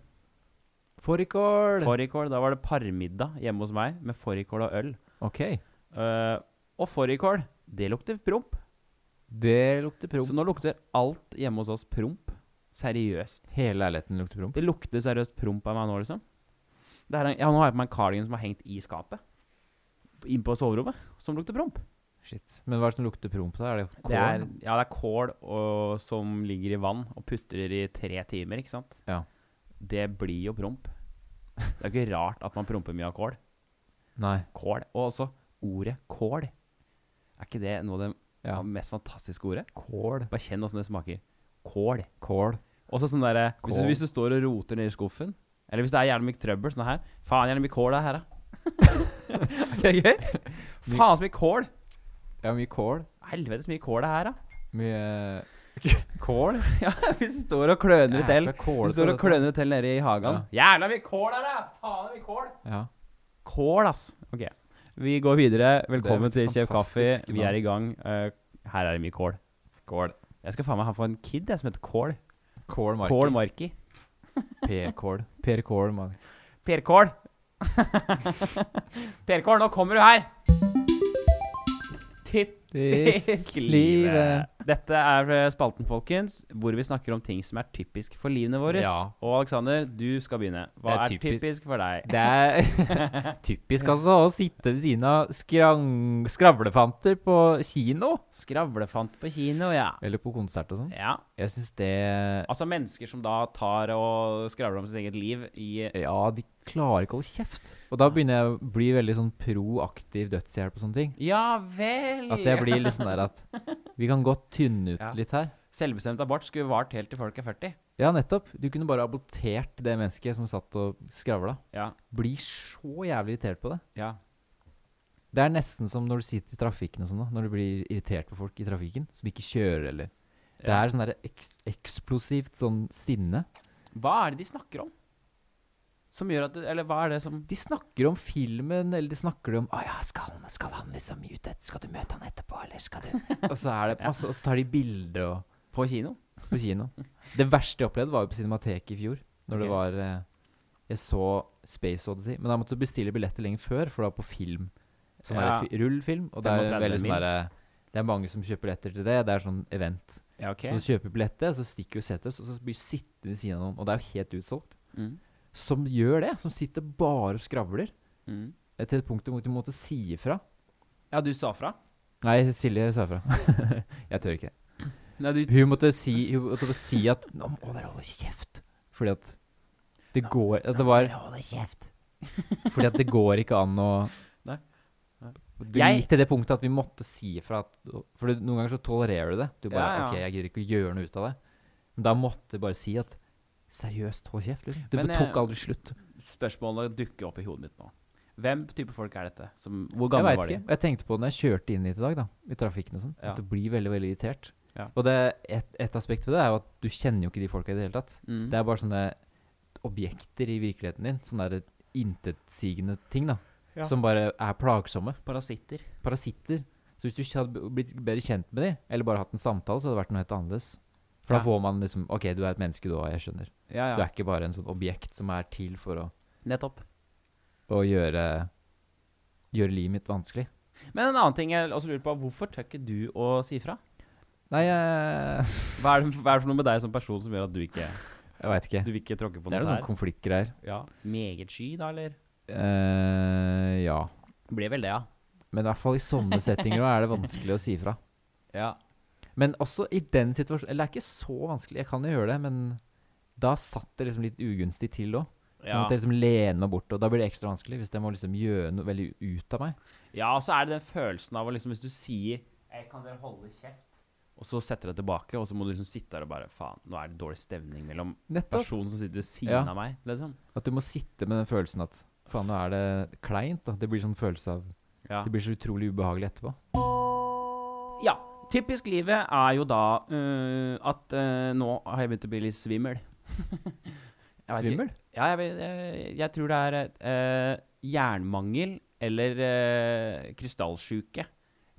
Speaker 1: Fårikål!
Speaker 2: Fårikål, da var det parmiddag hjemme hos meg med fårikål og øl.
Speaker 1: OK.
Speaker 2: Eh, og fårikål, det lukter promp.
Speaker 1: Det lukter promp.
Speaker 2: Så nå lukter alt hjemme hos oss promp. Seriøst.
Speaker 1: Hele leiligheten lukter promp.
Speaker 2: Det lukter seriøst promp av meg nå, liksom. Det er en, ja, nå har jeg på meg en cardigan som har hengt i skapet. Inn på soverommet. Som lukter promp.
Speaker 1: Shit. Men hva er det som lukter promp, da? Er det kål?
Speaker 2: Det er, ja, det er kål og, som ligger i vann og putrer i tre timer, ikke sant?
Speaker 1: Ja.
Speaker 2: Det blir jo promp. [laughs] Det er ikke rart at man promper mye av kål.
Speaker 1: Nei.
Speaker 2: Kål. Og også ordet kål. Er ikke det noe av det
Speaker 1: Ja.
Speaker 2: mest fantastiske ordet?
Speaker 1: Kål.
Speaker 2: Bare kjenn åssen det smaker. Kål.
Speaker 1: Kål.
Speaker 2: Også sånn derre hvis, du-
Speaker 1: Kål.
Speaker 2: hvis du står og roter nedi skuffen, eller hvis det er jævlig mye trøbbel sånn her Faen, jævlig mye kål det er her, da. [laughs] er ikke det gøy? Faen så mye kål.
Speaker 1: Ja, mye kål.
Speaker 2: Helvetes mye kål det er her, da.
Speaker 1: Mye
Speaker 2: Kål? [laughs] ja, hvis du står og kløner ut el.
Speaker 1: Jævla kål
Speaker 2: Du står og
Speaker 1: dette.
Speaker 2: kløner ut el nede i hagen. Jævla mye kål her, da! Faen, det er mye kål.
Speaker 1: Ja.
Speaker 2: Kål, ass. Ok. Vi går videre. Velkommen
Speaker 1: Det er
Speaker 2: til
Speaker 1: et
Speaker 2: Kjøp kaffe.
Speaker 1: fantastisk
Speaker 2: Vi er i gang. Eh, her er det mye kål.
Speaker 1: Kål.
Speaker 2: Jeg skal faen meg ha for en kid jeg, som heter Kål.
Speaker 1: Kål Marki.
Speaker 2: Kål Marki.
Speaker 1: Per Kål. Per Kål Marki.
Speaker 2: Per
Speaker 1: [laughs]
Speaker 2: Kål. per Kål, nå kommer du her! Typisk livet. Dette er eh, spalten, folkens, hvor vi snakker om ting som er typisk for livene våre.
Speaker 1: Ja.
Speaker 2: Og Alexander, du skal begynne. Hva er
Speaker 1: Det er
Speaker 2: typisk, for deg?
Speaker 1: Det er [laughs] typisk altså å sitte ved siden av skrang skravlefanter på kino.
Speaker 2: Skravlefant på kino, ja.
Speaker 1: Eller på konsert og sånn.
Speaker 2: Ja.
Speaker 1: Jeg syns det
Speaker 2: Altså mennesker som da tar og skravler om sitt eget liv i
Speaker 1: Ja, de klarer ikke å holde kjeft. Og da begynner jeg å bli veldig sånn proaktiv dødshjelp og sånne ting.
Speaker 2: Ja vel!
Speaker 1: At jeg blir litt sånn der at Vi kan godt tynne ut
Speaker 2: Ja.
Speaker 1: litt her.
Speaker 2: Selvbestemt abort skulle vart helt til folk er 40.
Speaker 1: Ja, nettopp. Du kunne bare abortert det mennesket som satt og skravla.
Speaker 2: Ja.
Speaker 1: Blir så jævlig irritert på det.
Speaker 2: ja.
Speaker 1: Det er nesten som når du sitter i trafikken og sånn, da. Når du blir irritert på folk i trafikken som ikke kjører eller Det
Speaker 2: Ja.
Speaker 1: er sånn der eks eksplosivt sånn sinne.
Speaker 2: Hva er det de snakker om? Som gjør at du Eller hva er det som
Speaker 1: De snakker om filmen, eller de snakker om Å ja, skal han, skal han liksom ut et, Skal du møte han etterpå, eller skal du Og så er det masse, og så tar de bilde og
Speaker 2: På kino?
Speaker 1: på kino. Det verste jeg opplevde, var jo på Cinemateket i fjor. Når
Speaker 2: Ok.
Speaker 1: det var eh, Jeg så Space Odyssey, men da måtte du bestille billetter lenge før, for det var på film. Sånn
Speaker 2: Ja.
Speaker 1: ja. rullfilm. Og det er
Speaker 2: 35
Speaker 1: veldig sånn
Speaker 2: mil.
Speaker 1: derre Det er mange som kjøper billetter til det. Det er sånn event.
Speaker 2: Ja, ok.
Speaker 1: Så du kjøper billetter, så stikker du setet, og så blir du sittende ved siden av noen. Og det er jo helt utsolgt.
Speaker 2: Mm.
Speaker 1: Som gjør det. Som sitter bare og skravler.
Speaker 2: Mm.
Speaker 1: Eh, Til et punkt hvor du måtte si ifra.
Speaker 2: Ja, du sa fra?
Speaker 1: Nei, Silje sa fra. [laughs] jeg tør ikke.
Speaker 2: Nei, du
Speaker 1: Hun måtte si, hun måtte bare si at Nå må dere holde kjeft. Fordi at det går At det var kjeft. [laughs] Fordi at det går ikke an å
Speaker 2: Nei. Nei.
Speaker 1: Det
Speaker 2: Jeg-
Speaker 1: gikk til det punktet at vi måtte si ifra. at- For du- noen ganger så tolererer du det. Du bare
Speaker 2: Ja, ja.
Speaker 1: OK, jeg gidder ikke å gjøre noe ut av det. Men da måtte du bare si at Seriøst, hold kjeft. Liksom. Det
Speaker 2: Men, eh,
Speaker 1: tok aldri slutt.
Speaker 2: Spørsmålet dukker opp i hodet mitt nå. Hvem type folk er dette? Som, hvor
Speaker 1: Jeg
Speaker 2: gamle
Speaker 1: vet
Speaker 2: var de?
Speaker 1: ikke. Jeg tenkte på det når jeg kjørte inn hit i dag, da, i trafikken og sånn,
Speaker 2: Ja.
Speaker 1: at det blir veldig veldig irritert.
Speaker 2: Ja.
Speaker 1: Og det, et, et aspekt ved det er jo at du kjenner jo ikke de folka i det hele tatt.
Speaker 2: Mm.
Speaker 1: Det er bare sånne objekter i virkeligheten din, sånne der intetsigende ting, da,
Speaker 2: Ja.
Speaker 1: som bare er plagsomme.
Speaker 2: Parasitter.
Speaker 1: Parasitter. Så hvis du ikke hadde b- blitt bedre kjent med de, eller bare hatt en samtale, så hadde det vært noe helt annerledes. For
Speaker 2: Ja.
Speaker 1: da får man liksom OK, du er et menneske du òg, jeg skjønner.
Speaker 2: Ja,
Speaker 1: Du
Speaker 2: ja.
Speaker 1: er ikke bare en sånn objekt som er til for å,
Speaker 2: Nettopp.
Speaker 1: å gjøre, gjøre livet mitt vanskelig.
Speaker 2: Men en annen ting jeg også lurer på, hvorfor tør ikke du å si fra?
Speaker 1: Nei, jeg
Speaker 2: Hva er, det, hva er det for noe med deg som person som gjør at du ikke
Speaker 1: Jeg veit ikke.
Speaker 2: Du vil ikke tråkke på
Speaker 1: det
Speaker 2: noe
Speaker 1: er noen sånne
Speaker 2: der?
Speaker 1: konfliktgreier.
Speaker 2: Ja. Meget sky, da, eller?
Speaker 1: Eh, ja.
Speaker 2: Blir vel det, ja.
Speaker 1: Men i hvert fall i sånne settinger da er det vanskelig å si fra.
Speaker 2: Ja.
Speaker 1: Men også i den situasjonen Eller det er ikke så vanskelig, jeg kan jo gjøre det, men da satt det liksom litt ugunstig til òg. Sånn
Speaker 2: ja.
Speaker 1: at jeg liksom lener meg bort, og da blir det ekstra vanskelig hvis jeg må liksom gjøre noe veldig ut av meg.
Speaker 2: Ja, og så er det den følelsen av å liksom, hvis du sier «Ei, Kan dere holde kjeft? Og så setter det tilbake, og så må du liksom sitte der og bare Faen, nå er det dårlig stemning mellom
Speaker 1: Nettopp.
Speaker 2: personen som sitter ved siden
Speaker 1: Ja.
Speaker 2: av meg, liksom.
Speaker 1: At du må sitte med den følelsen at Faen, nå er det kleint. da Det blir sånn følelse av
Speaker 2: Ja.
Speaker 1: Det blir så utrolig ubehagelig etterpå.
Speaker 2: ja. Typisk livet er jo da eh, at eh, nå har jeg begynt å bli litt svimmel. Jeg vet ikke-
Speaker 1: Svimmel?
Speaker 2: Ja, jeg, vet- eh, jeg tror det er eh, jernmangel eller uh, krystallsjuke.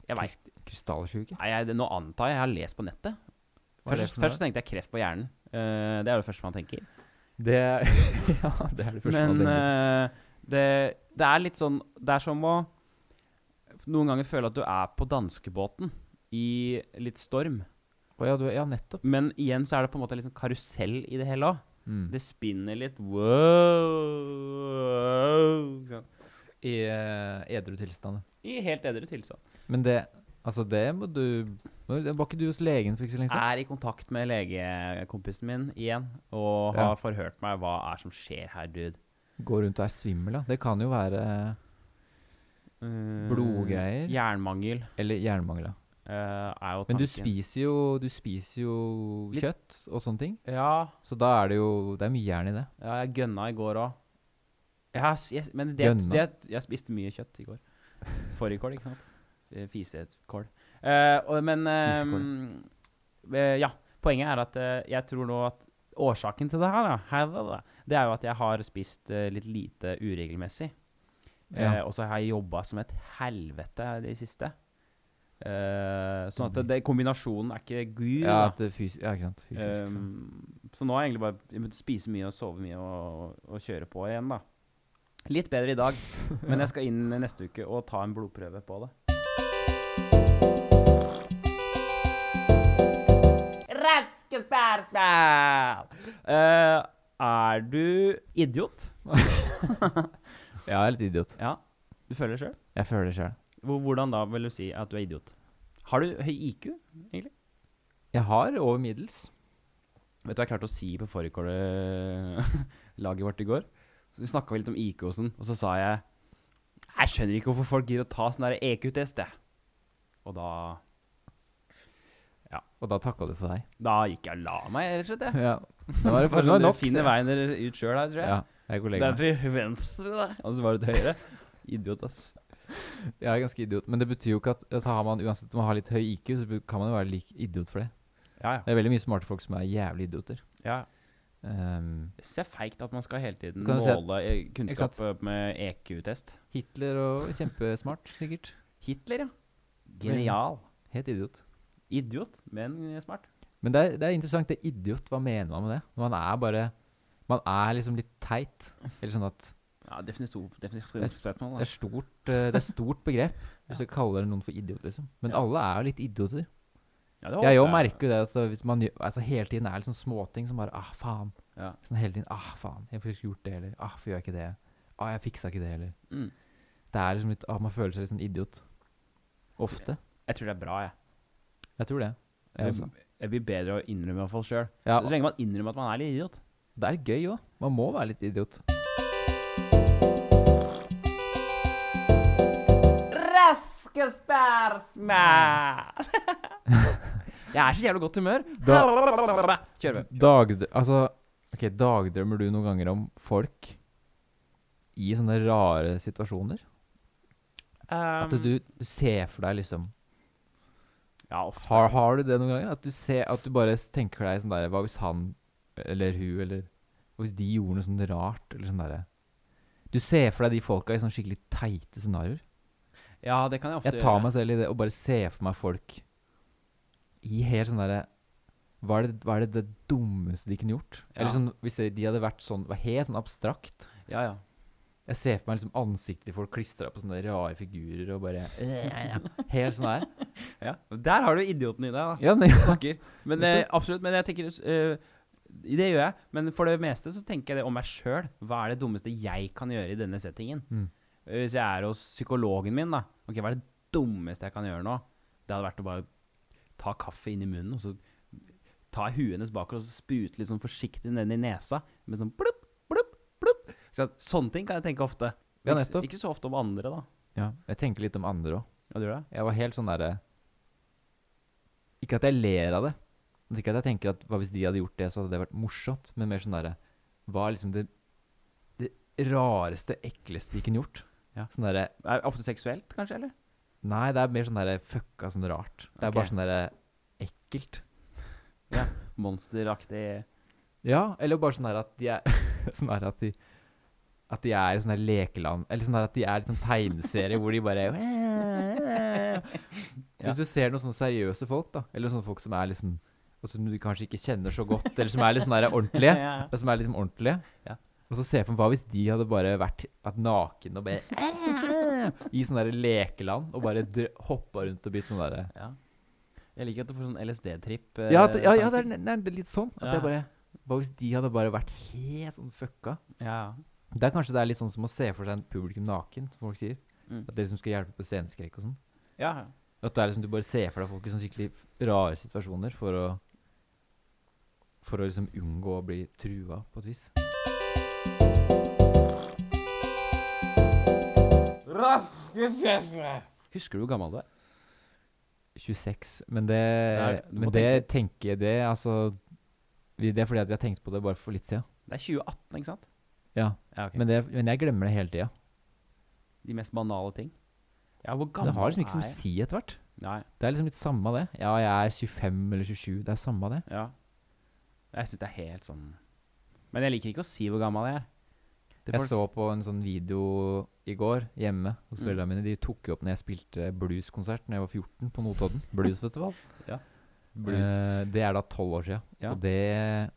Speaker 2: Jeg veit
Speaker 1: Krystallsjuke?
Speaker 2: Nei, jeg, det- nå antar jeg jeg har lest på nettet.
Speaker 1: Hva er det
Speaker 2: Først,
Speaker 1: for noe?
Speaker 2: først så tenkte jeg kreft på hjernen. Eh, det er det første man tenker.
Speaker 1: Det er [laughs] Ja, det er det første man
Speaker 2: Men
Speaker 1: tenker.
Speaker 2: eh, det, det er litt sånn Det er som å noen ganger føle at du er på danskebåten i litt storm.
Speaker 1: Å ja, du, ja, nettopp.
Speaker 2: Men igjen så er det på en måte litt sånn karusell i det hele òg.
Speaker 1: Mm.
Speaker 2: Det spinner litt wow ikke sant?
Speaker 1: I eh, edru tilstand.
Speaker 2: I helt edru tilstand.
Speaker 1: Men det Altså, det må du må- Var ikke du hos legen for ikke så lenge siden?
Speaker 2: Er i kontakt med legekompisen min igjen og har
Speaker 1: Ja.
Speaker 2: forhørt meg hva er som skjer her, dude.
Speaker 1: Går rundt og er svimmel, da. Det kan jo være
Speaker 2: Mm,
Speaker 1: Blodgreier?
Speaker 2: Jernmangel
Speaker 1: Eller jernmangel, da.
Speaker 2: eh, er jo tanken.
Speaker 1: Men du spiser jo, du spiser jo
Speaker 2: Litt-
Speaker 1: kjøtt og sånne ting,
Speaker 2: Ja,
Speaker 1: så da er det jo Det er mye jern i det.
Speaker 2: ja jeg gønna i går òg. Jeg, har s- jeg, men det,
Speaker 1: Gønna?
Speaker 2: det, jeg spiste mye kjøtt i går. Fårikål, ikke sant? Eh, Fisekål. Eh, og- men eh, eh, Ja. Poenget er at eh, jeg tror nå at årsaken til det her, da, her da, da, det er jo at jeg har spist eh, litt lite uregelmessig.
Speaker 1: Ja.
Speaker 2: Eh, og så har jeg jobba som et helvete i det siste. Eh, sånn at det, det, kombinasjonen er ikke
Speaker 1: Mhm.
Speaker 2: gud.
Speaker 1: Ja,
Speaker 2: da.
Speaker 1: at det fys ja ikke sant. Fysisk. sånn.
Speaker 2: Um, så nå har jeg egentlig bare jeg måtte spise mye og sove mye og, og kjøre på igjen, da. Litt bedre
Speaker 1: [laughs]
Speaker 2: i dag, men jeg skal inn neste uke og ta en blodprøve på det. Raske spørsmål! Eh, er du idiot?
Speaker 1: Ja, jeg er litt idiot.
Speaker 2: Ja. Du føler det sjøl?
Speaker 1: Jeg føler det sjøl.
Speaker 2: Hvordan da vil du si at du er idiot? Har du høy IQ?
Speaker 1: Jeg har over middels.
Speaker 2: Vet du hva jeg klarte å si på fårikål-laget vårt i går? Så Vi snakka litt om IQ og sånn, og så sa jeg Jeg skjønner ikke hvorfor folk gidder å ta sånn der EQ-test, jeg. Og da
Speaker 1: Og da takka du for deg.
Speaker 2: Da gikk jeg og la meg, rett og slett. jeg.
Speaker 1: Ja. Nå er [laughs] det
Speaker 2: Bare
Speaker 1: for, nå er det
Speaker 2: sånn, Dere
Speaker 1: nok.
Speaker 2: finner
Speaker 1: sier jeg.
Speaker 2: veien dere ut sjøl her, tror jeg.
Speaker 1: Ja, jeg er
Speaker 2: det
Speaker 1: kollega.
Speaker 2: er til venstre,
Speaker 1: [laughs]
Speaker 2: der, og så var det til høyre. Idiot, ass.
Speaker 1: Jeg er ganske idiot. Men det betyr jo ikke at altså, har man, Uansett om man har litt høy IQ, så bu- kan man jo være lik idiot for det.
Speaker 2: Ja, ja.
Speaker 1: Det er veldig mye smarte folk som er jævlig idioter.
Speaker 2: ja.
Speaker 1: Ehm,
Speaker 2: Det ser feigt at man skal hele tiden
Speaker 1: Kan du se at-
Speaker 2: måle eh, kunnskap med E EQ-test.
Speaker 1: Hitler og kjempesmart, sikkert.
Speaker 2: Hitler, ja. Genial.
Speaker 1: Helt idiot.
Speaker 2: Idiot, men smart.
Speaker 1: Men det er, det er interessant, det er idiot. Hva mener man med det? Man er bare Man er liksom litt teit. Eller sånn at
Speaker 2: Ja, definisjon, definisjonsspørsmål. da.
Speaker 1: Det er stort, eh, det er stort begrep. Hvis
Speaker 2: [laughs]
Speaker 1: du
Speaker 2: Ja.
Speaker 1: kaller noen for idiot, liksom. Men
Speaker 2: Ja.
Speaker 1: alle er jo litt idioter.
Speaker 2: Ja, det håper
Speaker 1: Jeg jo merker jo det. Altså, hvis man gjør, altså, hele tiden er det liksom småting som bare Ah, faen.
Speaker 2: Ja.
Speaker 1: Sånn hele tiden Ah, faen. Jeg fikk ikke gjort det, eller Ah, hvorfor gjør jeg ikke det? Ah, jeg fiksa ikke det, eller
Speaker 2: Mm.
Speaker 1: Det er liksom litt ah, Man føler seg litt sånn idiot. Ofte. altså.
Speaker 2: Jeg tror det er bra, jeg.
Speaker 1: Jeg tror det. Jeg
Speaker 2: Jeg,
Speaker 1: også.
Speaker 2: blir- jeg blir bedre å innrømme iallfall sjøl.
Speaker 1: Ja.
Speaker 2: Så lenge man innrømmer at man er litt idiot.
Speaker 1: Det er gøy òg. Man må være litt idiot.
Speaker 2: Raske spørsmål! [laughs] jeg er så jævlig godt humør. Kjør vi.
Speaker 1: Dagd... Altså OK, dagdrømmer du noen ganger om folk i sånne rare situasjoner? At
Speaker 2: Um,
Speaker 1: du, du ser for deg liksom
Speaker 2: ja, ofte.
Speaker 1: Har, har du det noen ganger? At du, ser, at du bare tenker deg sånn der Hva hvis han eller hun eller hva Hvis de gjorde noe sånn rart, eller sånn derre Du ser for deg de folka i sånn skikkelig teite scenarioer.
Speaker 2: ja, det kan jeg ofte
Speaker 1: Jeg tar
Speaker 2: gjøre.
Speaker 1: meg selv i det og bare ser for meg folk i helt sånn derre hva, er det- hva er det det dummeste de kunne gjort? Eller
Speaker 2: Ja.
Speaker 1: sånn, Hvis de- de hadde vært sånn var helt sånn abstrakt
Speaker 2: Ja, ja.
Speaker 1: Jeg ser for meg liksom ansiktet til folk klistra på sånne rare figurer og bare øh, Helt sånn der.
Speaker 2: ja. Der har du idioten i deg, da.
Speaker 1: Ja, men,
Speaker 2: Du snakker. Men eh, absolutt. Men jeg tenker eh, Det gjør jeg. Men for det meste så tenker jeg det om meg sjøl. Hva er det dummeste jeg kan gjøre i denne settingen?
Speaker 1: Mm.
Speaker 2: Eh, Hvis jeg er hos psykologen min, da. Ok, hva er det dummeste jeg kan gjøre nå? Det hadde vært å bare ta kaffe inn i munnen, og så ta huet hennes bakover og så sprute litt sånn forsiktig ned i nesa. Med sånn blupp, blupp, blupp. Så at sånne ting kan jeg tenke ofte.
Speaker 1: Ja,
Speaker 2: Ikke-
Speaker 1: nettopp.
Speaker 2: Ikke så ofte om andre, da.
Speaker 1: ja, jeg tenker litt om andre òg.
Speaker 2: Ja, du gjør det?
Speaker 1: Jeg var helt sånn derre Ikke at jeg ler av det. Men ikke at jeg tenker at hva hvis de hadde gjort det, så hadde det vært morsomt. Men mer sånn derre Hva er liksom det, det rareste, ekleste de kunne gjort.
Speaker 2: Ja.
Speaker 1: Sånn derre
Speaker 2: Er det ofte seksuelt, kanskje? eller?
Speaker 1: Nei, det er mer sånn derre fucka sånn rart. Det er
Speaker 2: Ok.
Speaker 1: bare sånn derre ekkelt.
Speaker 2: Monsteraktig
Speaker 1: Ja, eller bare sånn der at de er [laughs] Sånn der at de At de er i sånn der lekeland Eller sånn der at de er i sånn tegneserie hvor de
Speaker 2: [laughs]
Speaker 1: bare Hvis du ser noen sånne seriøse folk, da, eller sånne folk som er liksom Og som du kanskje ikke kjenner så godt, eller som er litt sånn der ordentlige
Speaker 2: [laughs] Ja.
Speaker 1: eller Som er liksom ordentlige
Speaker 2: Ja.
Speaker 1: Og så ser jeg for meg hva hvis de hadde bare vært at naken og bare [laughs] I sånn der lekeland og bare dr- hoppa rundt og blitt sånn derre
Speaker 2: Ja. Jeg liker at du får sånn LSD-tripp.
Speaker 1: ja, at- ja, ja, det er, ne- det er litt sånn. At
Speaker 2: Ja.
Speaker 1: jeg bare Hva hvis de hadde bare vært helt sånn fucka?
Speaker 2: ja.
Speaker 1: Det er kanskje det er litt sånn som å se for seg en publikum naken, som folk sier.
Speaker 2: Mm.
Speaker 1: At det liksom skal hjelpe på sceneskrekk og sånn.
Speaker 2: ja.
Speaker 1: At det er liksom du bare ser for deg folk i sånn skikkelig rare situasjoner for å For å liksom unngå å bli trua, på et vis.
Speaker 2: Husker du hvor gammel du er?
Speaker 1: 26. Men det,
Speaker 2: Nei, du må
Speaker 1: men det tenker jeg det Altså vi- Det er fordi at jeg tenkte på det bare for litt siden.
Speaker 2: Det er 2018, ikke sant?
Speaker 1: Ja.
Speaker 2: Ja, ok.
Speaker 1: Men, det, men jeg glemmer det hele tida.
Speaker 2: De mest banale ting. Ja, hvor
Speaker 1: Det
Speaker 2: gammel
Speaker 1: har liksom ikke så
Speaker 2: er
Speaker 1: mye å
Speaker 2: jeg?
Speaker 1: si etter hvert.
Speaker 2: Nei,
Speaker 1: Det er liksom litt samme det. Ja, jeg er 25 eller 27. Det er samme det.
Speaker 2: ja. Jeg syns det er helt sånn Men jeg liker ikke å si hvor gammel jeg er. Til
Speaker 1: Jeg
Speaker 2: folk.
Speaker 1: så på en sånn video i går hjemme hos
Speaker 2: Mm.
Speaker 1: foreldrene mine. De tok jo opp når jeg spilte blueskonsert da jeg var 14 på
Speaker 2: [laughs]
Speaker 1: Notodden. Bluesfestival.
Speaker 2: Eh,
Speaker 1: Eh, det er da 12 år siden.
Speaker 2: Ja.
Speaker 1: Og det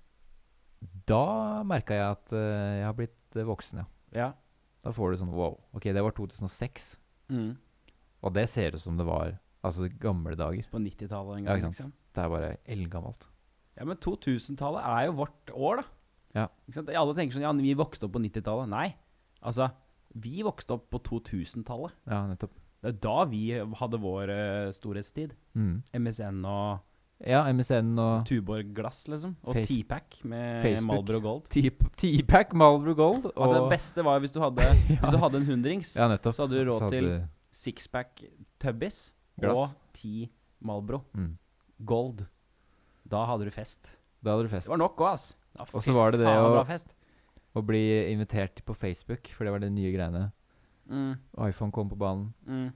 Speaker 1: Da merka jeg at eh, jeg har blitt eh, voksen, ja.
Speaker 2: ja.
Speaker 1: Da får du sånn wow. Ok, det var 2006.
Speaker 2: Mm. Og
Speaker 1: Og det ser ut som det var altså gamle dager.
Speaker 2: På 90-tallet en
Speaker 1: Ja,
Speaker 2: gang.
Speaker 1: ikke
Speaker 2: liksom.
Speaker 1: sant. Det er bare eldgammelt.
Speaker 2: Ja, men 2000-tallet er jo vårt år, da.
Speaker 1: Ja.
Speaker 2: Ikke sant? Alle tenker sånn Ja, vi vokste opp på 90-tallet. Nei. Altså, vi vokste opp på 2000-tallet.
Speaker 1: Ja, nettopp.
Speaker 2: Det er da vi hadde vår eh, storhetstid.
Speaker 1: Mm.
Speaker 2: MSN og
Speaker 1: Ja, MSN og
Speaker 2: Tuborg Glass, liksom. Og
Speaker 1: Face-
Speaker 2: T-Pack med
Speaker 1: Facebook.
Speaker 2: Marlboro Gold.
Speaker 1: T- T-pack Marlboro Gold. Og
Speaker 2: Altså, det beste var hvis du
Speaker 1: [laughs]
Speaker 2: hadde, hvis du hadde en hundrings,
Speaker 1: Ja, nettopp.
Speaker 2: så hadde du råd
Speaker 1: Så
Speaker 2: til sixpack Tubbies og
Speaker 1: Glass.
Speaker 2: ti Marlboro
Speaker 1: mm.
Speaker 2: Gold. Da hadde du fest.
Speaker 1: Da hadde du fest.
Speaker 2: Det var nok òg, ass. Ja,
Speaker 1: Og
Speaker 2: fy
Speaker 1: så var det det
Speaker 2: faen,
Speaker 1: å-
Speaker 2: bra fest.
Speaker 1: Å bli invitert på Facebook, for det var de nye greiene.
Speaker 2: Mm,
Speaker 1: iPhone kom på banen.
Speaker 2: mm.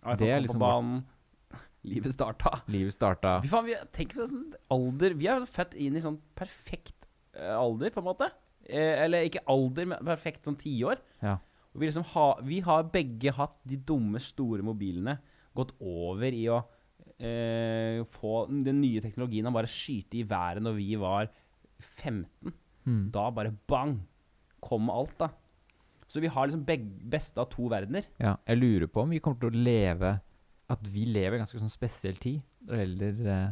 Speaker 2: iPhone
Speaker 1: Det er
Speaker 2: kom
Speaker 1: liksom
Speaker 2: på banen. [laughs] Livet starta.
Speaker 1: Livet starta.
Speaker 2: Fy faen, vi, tenk på sånn alder Vi er jo født inn i sånn perfekt eh, alder, på en måte. Eh, eller ikke alder, men perfekt sånn tiår.
Speaker 1: Ja.
Speaker 2: Og vi, liksom ha, vi har begge hatt de dumme, store mobilene, gått over i å eh, få den nye teknologien og bare skyte i været når vi var 15.
Speaker 1: Mm.
Speaker 2: Da bare bang! Kom alt, da. Så vi har liksom begge, beste av to verdener.
Speaker 1: Ja, jeg lurer på om vi kommer til å leve At vi lever i en ganske sånn spesiell tid når det gjelder eh,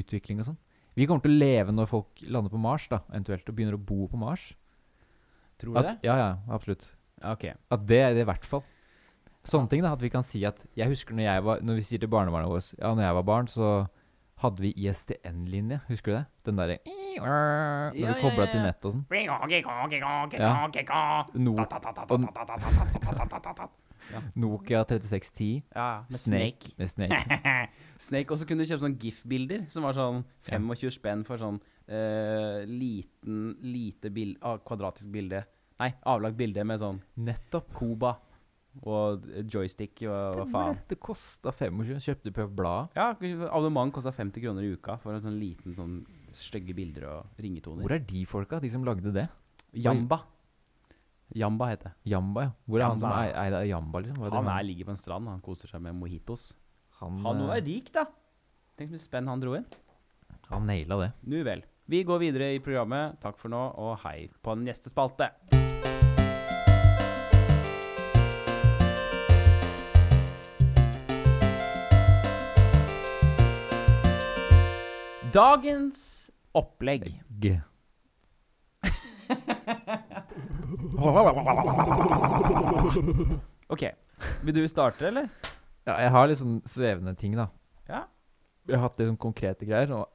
Speaker 1: utvikling og sånn. Vi kommer til å leve når folk lander på Mars, da, eventuelt, og begynner å bo på Mars.
Speaker 2: Tror du
Speaker 1: At, ja, ja, absolutt.
Speaker 2: det? Ok.
Speaker 1: At det er det i hvert fall. Sånne ting da, at vi kan si at Jeg husker når jeg var Når vi sier til barnebarna våre Ja, når jeg var barn, så hadde vi ISDN-linje. Husker du det? Den derre Når du
Speaker 2: Ja, ja,
Speaker 1: kobla
Speaker 2: ja,
Speaker 1: til
Speaker 2: ja.
Speaker 1: nettet og sånn.
Speaker 3: Ja.
Speaker 1: No- Nokia 3610
Speaker 2: Ja, med Snake.
Speaker 1: Med
Speaker 2: [laughs]
Speaker 1: Snake.
Speaker 2: Snake også kunne du kjøpe sånn GIF-bilder, som var sånn 25 spenn for sånn eh, liten, lite bil, ah, kvadratisk bilde. Nei, avlagt bilde med sånn
Speaker 1: Nettopp.
Speaker 2: Koba og joystick og hva
Speaker 1: Stemmer
Speaker 2: faen.
Speaker 1: det. Det kosta 25. Kjøpte på bladet.
Speaker 2: Ja, abonnement kosta 50 kroner i uka for en sånn liten sånn stygge bilder og
Speaker 1: Hvor
Speaker 2: ringetoner.
Speaker 1: er de folka, de som lagde det?
Speaker 2: Jamba. Jamba heter det.
Speaker 1: Jamba, ja. Hvor er han som
Speaker 2: Jamba.
Speaker 1: ei- eide Jamba, liksom? Hva
Speaker 2: Han
Speaker 1: det
Speaker 2: er, ligger på en strand, han koser seg med mojitos.
Speaker 1: han,
Speaker 2: Han
Speaker 1: eh,
Speaker 2: er rik, da. Tenk så mye spenn han dro inn.
Speaker 1: han naila det.
Speaker 2: Nu vel. Vi går videre i programmet. Takk for nå, og hei på neste spalte. Dagens opplegg.
Speaker 1: G. [laughs]
Speaker 2: OK. Vil du starte, eller?
Speaker 1: Ja, jeg har litt sånn svevende ting, da.
Speaker 2: Ja.
Speaker 1: Jeg har hatt litt sånn konkrete greier. Og